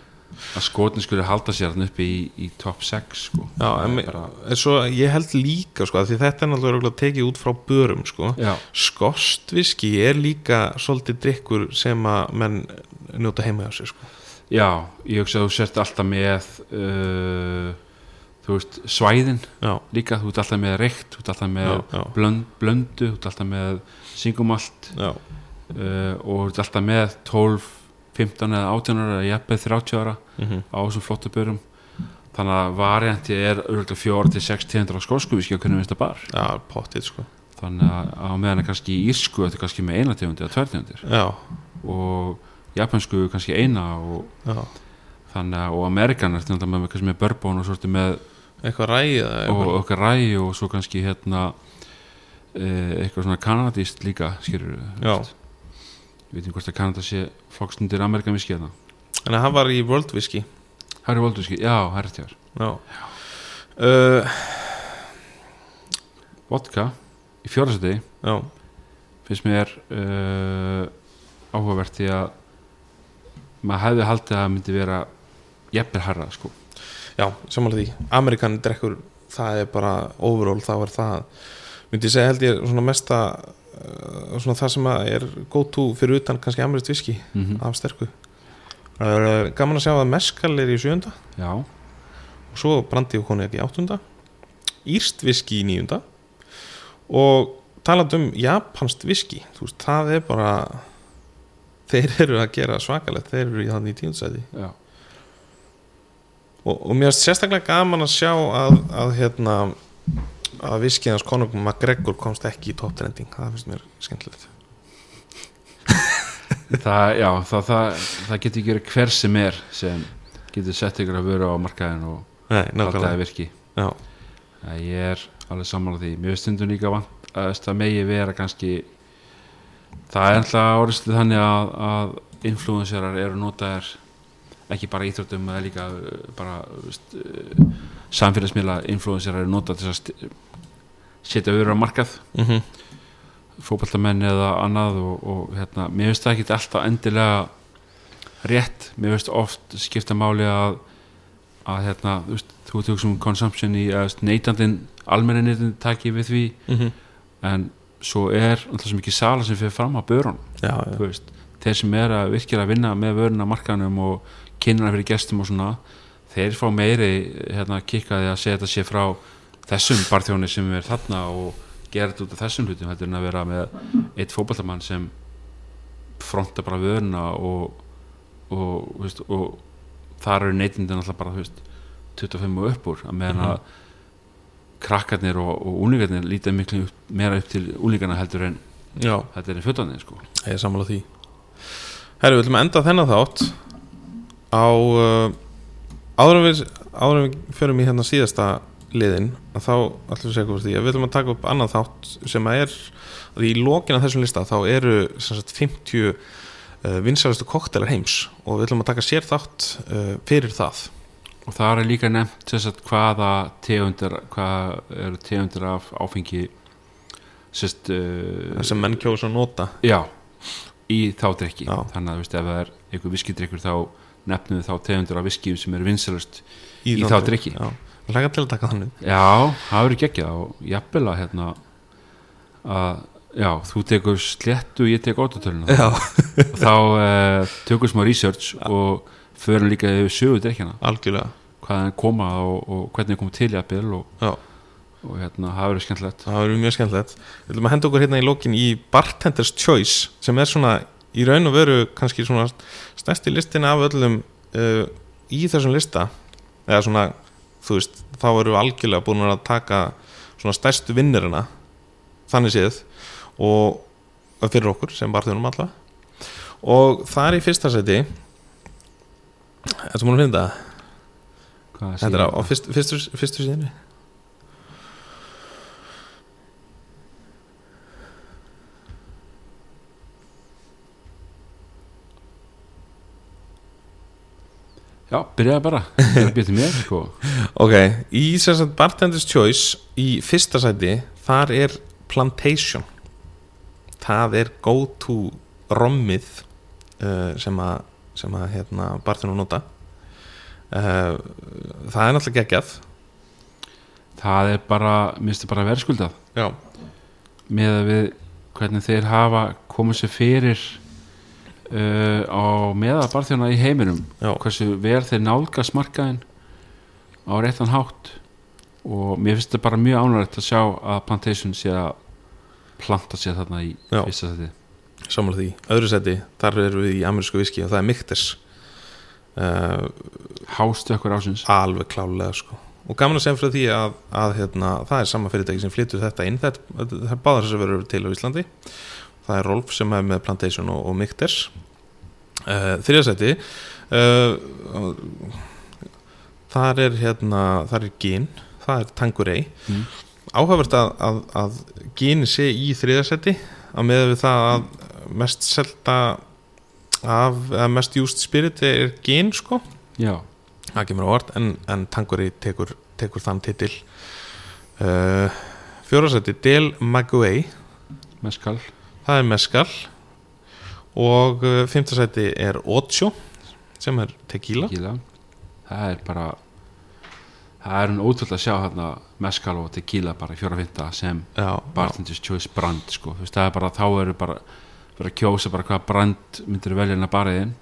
að skotin skulle halda sér hann uppi í, í top 6 sko
já
Það
en,
er bara,
en svo ég held líka sko, af því þetta er náttúrulega örugglega tekið út frá börum sko.
já,
skotstuðski er líka svolítið drikkur sem að menn njóta heima á sér sko.
já, ég hugsa að þú sért alltaf með uh, þú veist, svæðin
Já,
líka, þú ert alltaf með reykt þú ert alltaf með
já, já,
blönd, blöndu þú ert alltaf með singumalt
já,
uh, og þú ert alltaf með 12, 15 eða 18 ára eða jafnveg 30 ára
mm
á þessum flottu börum þannig að varianti er örgulega 4 til 6 tegundur af skórsku við skilja hvernig minnst að bar
já pottið sko.
þannig að á meðan er kannski í írsku þetta er kannski með eina tegundi eða tvær tegundir
Já,
og japansku kannski eina og
já
þannig að og amerikan er þetta með kannski með bourbon og svolítið með
eitthvað ræða
og okkar ræði og svo kannski hérna eh, eitthvað svona kanadist líka skilur
Já.
við veitum hvort að Kanada sé flokkstundir Amerikan viski hérna
en hann var í World Whisky
Harry Waldur skil, já, Harry Tjár
já uh,
Vodka í fjórasæti
já,
finnst mér uh, áhugavert því að maður hefði haldið að það myndi vera jafnir harra sko
já samanlega því Amerikan drekkur, það er bara overall, þá er það myndi ég segja held ég svona mesta uh, svona það sem að er go to fyrir utan kannski amerikt whisky
mm
af sterku uh, gaman að sjá að meskal er í sjönda
já,
og svo brandi og konjak í áttunda írst viski í níunda og talað um japanst viski, þú veist, það er bara þeir eru að gera svakalegt, þeir eru í þannig í tíundsæti
já,
og, og mér er sérstaklega gaman að sjá að, að hérna að viskið hans konung McGregor komst ekki í top trending, það finnst mér skemmtilegt
það, já það, það, það getur ekki verið hver sem er sem getur sett ykkur að vera á markaðin og
Nei,
haldið að
nákvæmlega
virki
Já,
að ég er alveg sammála því mér finnst stundum líka vant að það megi vera kannski það er alltaf orðslu þannig að, að influencerar eru notaðir ekki bara í íþróttum eða líka uh, bara þú veist, uh, samfélagsmiðla influencerar eru notaðir til að st- setja öðru á markað
mm -hmm.
fótballtamenn eða annað og, og hérna, mér finnst það ekki alltaf endilega rétt, mér finnst oft skipta máli að að hérna, þú veist, þú ert að hugsa um consumption í að neytandin, almenni neytandin taki við því,
mhm.
en svo er alltaf svo mikið sala sem fyrir fram á börun,
já, já,
þú veist þeir sem er að virkir að vinna með vörun á markanum og kynna hana fyrir gestum og svona þeir fá meiri hérna, kikkaði að segja þetta sé frá þessum barþjóni sem er þarna og gera þetta út af þessum hlutum heldur en að vera með eitt fótballamann sem fronta bara vöruna og, og, þú veist, og þar eru neytindin alltaf bara þú veist, 25 og upp úr að meðan
Mhm.
að krakkarnir og, og úlingarnir líta miklu upp, meira upp til úlingarna heldur en
já
þetta er fjötanir sko
Ég er sammála því Herru, við ætlum að enda þennan þátt á uh, áður en við, áður en við förum í hérna síðasta liðin að þá ætlum við að segja okkur því að við ætlum að taka upp annan þátt sem að er að í lokin af þessum lista þá eru sem sagt 50 uh, vinsælustu koktelar heims og við ætlum að taka sér þátt uh, fyrir það
Og það er líka nefnt þess að hvaða tegundir, hvað eru tegundir af áfengi sérst, uh,
sem menn kjóðs að nota
já, í þá drikki.
Já.
Þannig að þú veist, ef það er einhver viskidrykkur þá nefnum við þá tegundir af viskijum sem eru vinsalust. Í þá drykki.
Já, hlæga til að taka þannig
Já, það eru geggjað og jafnvel að hérna að, já, þú tekur sléttu og ég
[laughs]
tek óttatöluna.
Já,
og þá uh, tökum smá research og förum líka yfir sögu drikkjana,
algjörlega
hvaðan koma og, og hvernig kom til jafnvel og,
Já
og hérna, það verður skemmtilegt.
Það verður mjög skemmtilegt Við viljum að henda okkur hérna í lokin í Bartender's Choice sem er svona í raun og veru kannski svona stærsti listin af öllum uh, í þessum lista eða svona, þú veist, þá eru við algjörlega búin að taka svona stærstu vinnirina þannig séð og og fyrir okkur sem barðunum alla og þar í fyrsta seti Þetta múin að finna það?
Hvað
Þetta er á,
síðan?
á fyrst, fyrstu, fyrstu síðinni
Já, byrjaði bara, það er að byrja til mér sko.
Ok, í sem sagt Bartender's Choice í fyrsta sæti, þar er Plantation það er go to rommið uh, sem að, sem að hérna, barðunum nota uh, það er náttúrulega geggjað
Það er bara, minnst bara verðskuldað
Já,
með að við hvernig þeir hafa komið sér fyrir uh, á meðabarþjóna í heiminum
Já.
hversu vel þeir nálgast markaðin á réttan hátt og mér finnst þetta bara mjög ánægt að sjá að plantation sé að planta sér þarna í
Já.
fyrsta seti
samanlega því, öðru sæti þar erum við í amerísku viski og það er Miktes uh,
hástu okkur ásins
alveg klálega sko og gaman að segja frá því að, að hérna, það er sama fyrirtæki sem flytur þetta inn þetta, þetta það er báðar þessar verður til á Íslandi það er Rolf sem er með Plantation og, og Miktes uh, þriðasæti uh, þar er hérna, þar er Gin það er Tangurei
Mm.
áhæfvert að, að, að Gin sé í þriðasæti að meða við það að mest selta af, að mest used spirit er Gin sko
já,
það kemur á orð en, en Tanguri tekur, tekur þann titil uh, fjórasætti Del Maguey
með skall
það er meskal og uh, fimmtasætti er Ocho sem er tequila
tequila það er bara það er hún ótrúlega að sjá hérna meskal og tequila bara í fjóra fynda sem
já,
bartenders choice brand sko. Þú veist, það er bara, þá eru bara verið að kjósa bara hvaða brand myndir velja inn að bariðin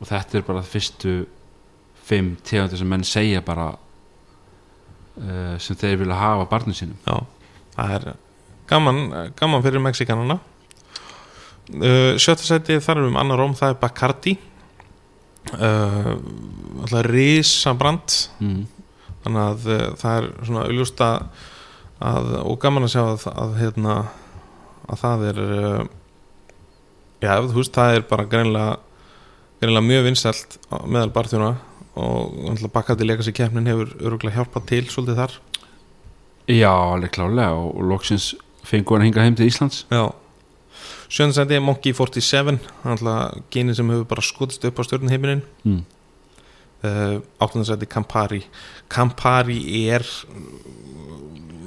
og þetta er bara fyrstu fimm tegundir sem menn segja bara uh, sem þeir vilja hafa á barnum sínum
já, það er gaman, gaman fyrir Mexikanana uh, sjötasætti þar erum við annar róm það er Bacardi uh, alltaf risabrand
mm.
þannig að uh, það er svona auðljóst að, að og gaman að sjá að, að hérna að það er uh, já, þú veist, það er bara greinlega greinlega mjög vinsælt á- meðal barþjóna og bakkandi leikast í keppnin hefur öruglega hjálpað til svolítið þar
Já, alveg klálega og, og loksins fengur hann hinga heim til Íslands
já Sjöndsæti er Monkey 47 alltaf geni sem hefur bara skotist upp á stjórnheiminin
mm.
uh, áttundarsæti Campari Campari er uh,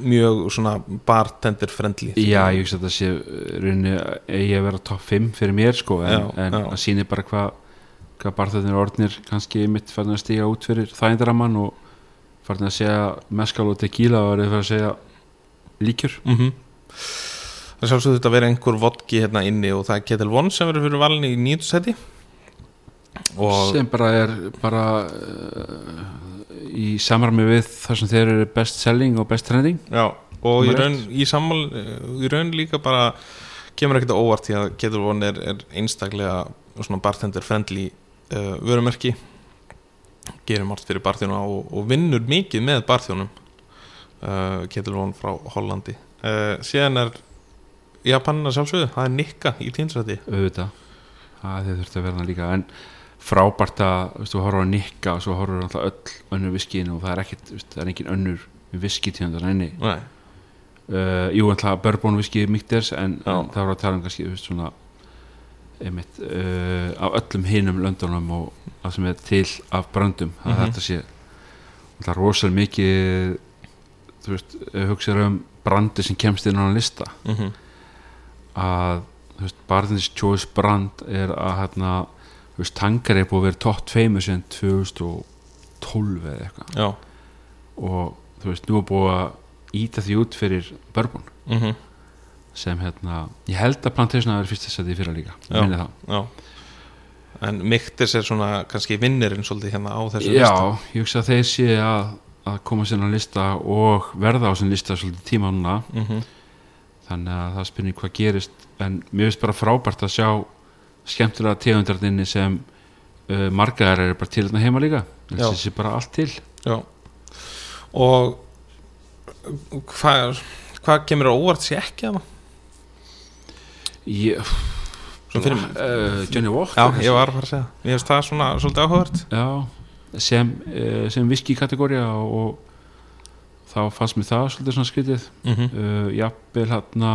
mjög svona bartender friendly
Já, ég hugsa að þetta sé eh, rauninni eigi að vera topp 5 fyrir mér sko, en,
Já,
en
já.
að síni bara hvað hvað barþöðnir orðnir kannski mitt færðin að stíga út fyrir þægindaramann og færðin að segja meskal og tequila og verið fyrir að segja líkjur
mm Það er sjálfsögðu þetta að vera einhver vodki hérna inni og það er Ketel One sem verður fyrir valin í nýjöndsæti og
sem bara er bara uh, í samræmi við þar sem þeir eru best selling og best trending
já, og í
Númer
raun, í, sammál, í raun líka bara kemur ekkert á óvart því að Ketel One er, er einstaklega svona bartender friendly uh, vörumerki gerir margt fyrir barþjóna og, og vinnur mikið með barþjónum uh, Ketel One frá Hollandi uh, síðan er Japanina sjálfsögðu, það er Nikka í tínsæti
auðvitað það þeir þurfti að vera það líka en frábært að þú veist, þú horfur að nikka og svo horfur alltaf öll önnur viskiðin og það er ekkit, þú veist, það er engin önnur viskitíðan enni
Nei,
uh, jú, alltaf bourbon viskið mikters en,
Já.
en það voru að tala um kannski þú veist, svona, einmitt, uh, af öllum hinum löndunum og það sem er til af bröndum það mm
Mhm.
þetta sé alltaf rosalega mikið þú veist, hugsaður um brandi sem kemst inn á þennan lista
mm
að þú veist, Barnes Choice brand er að hérna, þú veist, tangar er búið að vera tótt feimur síðan 2012 eða eitthvað
já
og þú veist, nú er búið að íta því út fyrir bourbon
mm
sem hérna, ég held að plantation að vera fyrst þess að því fyrra líka, ég
Já.
minni það
Já En Miktis er svona kannski vinnirinn svolítið hérna á þessu
Já,
lista.
ég hugsa að þeir sé að, að koma sérna á lista og verða á sérna lista svolítið tíma núna
Mhm,
þannig að það er spurning hvað gerist en mér finnst bara frábært að sjá skemmtilega tegundarninni sem uh, margar eru bara til þarna heima líka
Já.
þessi er bara allt til
Já Og hvað hvað kemur á óvart sé ekki af það?
ég,
Svo fyrir
uh, Johnny
Já,
Walker
ég var að fara að segja það. Mér finnst það svona svolítið áhugavert
Já, sem, uh, sem viski kategória og, og þá fannst mér það svolítið svona skrítið
mm
Mhm,
uh, jafnvel hérna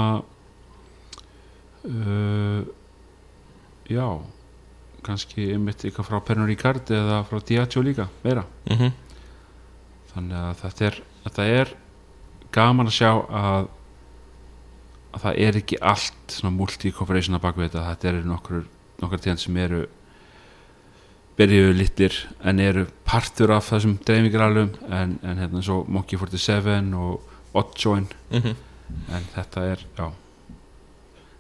uh, já kannski einmitt eitthvað frá Pernur Ríkard eða frá Diageo líka, meira
mhm,
-hmm.
þannig að þetta er, þetta er gaman að sjá að, að það er ekki allt svona multi-corporation að bakvið þetta þetta eru nokkur, nokkur tegnd sem eru byrjuðu litlir en eru partur af þessum dreifingralum en, en hérna svo Monkey 47 og Oddjoin
mhm.
en þetta er, já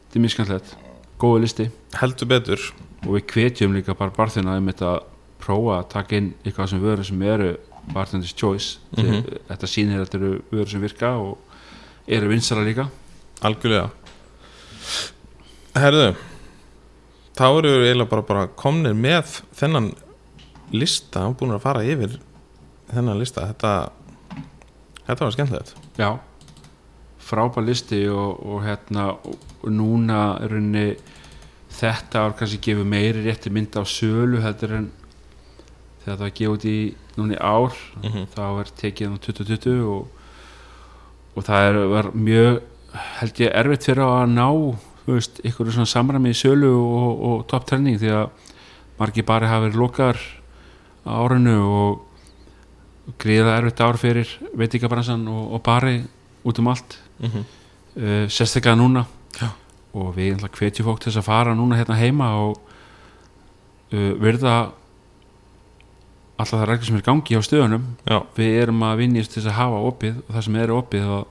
þetta er mjög skanlega góðu listi
Heldur betur
og við kvetjum líka bara barþina um þetta að prófa að taka inn eitthvað sem vörur sem eru barþindis choice mm
Mhm.
þetta sýnir að þetta eru vörur sem virka og eru vinsara líka
Algjörlega Herðu Þá eru við eiginlega bara, bara komnir með þennan lista búin að fara yfir þennan lista Þetta, þetta var skemmtilegt
já frábær listi og, og hérna og, og núna í rauninni þetta ár kannski gefur meiri rétti mynd á sölu heldur en þegar það var gefið út í núna í ár
Mhm.
þá er tekið á 2020 og, og það er, var mjög held ég erfitt fyrir á að ná þú veist, ykkur svona samræmi í sölu og, og top trending því að margir bari hafa verið lokar á árinu og gríða erfitt ár fyrir veitingabransan og, og bari út um allt
Mm
mhm.
-hmm.
uh, sérstaklega núna
Já.
og við ætla hvetjum fólk til þess að fara núna hérna heima og uh, verða alltaf það reglur sem er í gangi á stöðunum
Já.
við erum að vinjast til þess að hafa opið og það sem er opið að,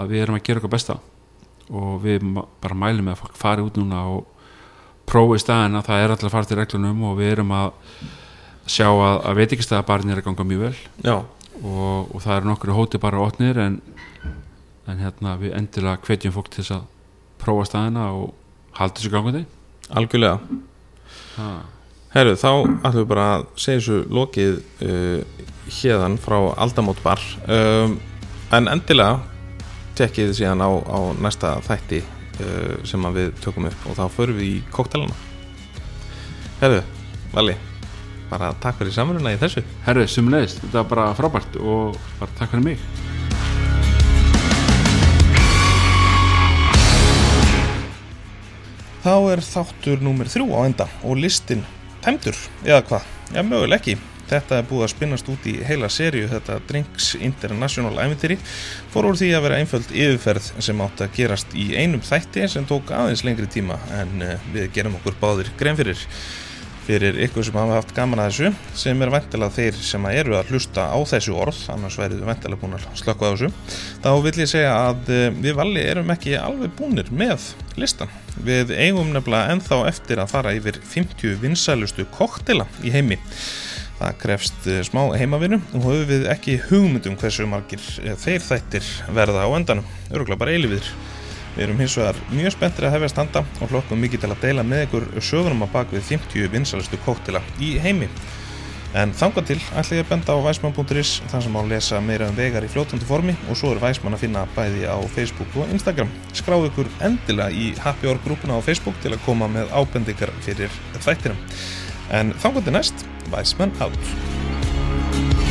að við erum að gera okkar besta og við ma- bara mælum með að fólk fari út núna og prófi staðin að það er alltaf að fara til reglunum og við erum að sjá að, að veit ekki er að ganga mjög vel
Já,
og, og það eru nokkru hóti bara óttnir en, en hérna við endilega hvetjum fólk til þess að prófa staðina og halda þessu gangandi
algjörlega
ha.
Herru, þá ætlum við bara að segja þessu lokið uh, hérðan frá Aldamót bar um, en endilega tekkið þið síðan á, á næsta þætti uh, sem að við tökum upp og þá förum við í koktelana Herru, Valli bara takk fyrir samruna í þessu
Herri, sumleðist, þetta var bara frábært og bara takk fyrir mig
Þá er þáttur númer þrjú á enda og listin tæmdur, eða hvað? Já, möguleg ekki. Þetta er búið að spinnast út í heila seríu, þetta Drinks International ævintýri, fór úr því að vera einföld yfirferð sem átti að gerast í einum þætti sem tók aðeins lengri tíma en eh, við gerum okkur báðir grein fyrir fyrir ykkur sem hafa haft gaman að þessu sem er væntilega þeir sem eru að hlusta á þessu orð, annars værið við væntilega búin að slökka á þessu, þá vill ég segja að eh, við valli erum ekki alveg búnir með listan. Við eigum nefnilega ennþá eftir að fara yfir 50 vinsælustu koktela í heimi. Það krefst eh, smá heimavinnu og höfum við ekki hugmyndum hversu margir eh, þeir þættir verða á endanum, örgulega bara eilífiðir. Við erum hins vegar mjög spenntir að hefja standa og hlokkum mikið til að deila með ykkur sögunum að bak við 50 vinsalistu kóktila í heimi. En þangað til ætla ég að benda á væsmann.is þar sem má lesa meira um vegar í fljótandi formi og svo er væsmann að finna bæði á Facebook og Instagram. Skráðu ykkur endilega í Happy Hour grúpuna á Facebook til að koma með ábendingar fyrir þættinum. En þangað til næst, væsmann out.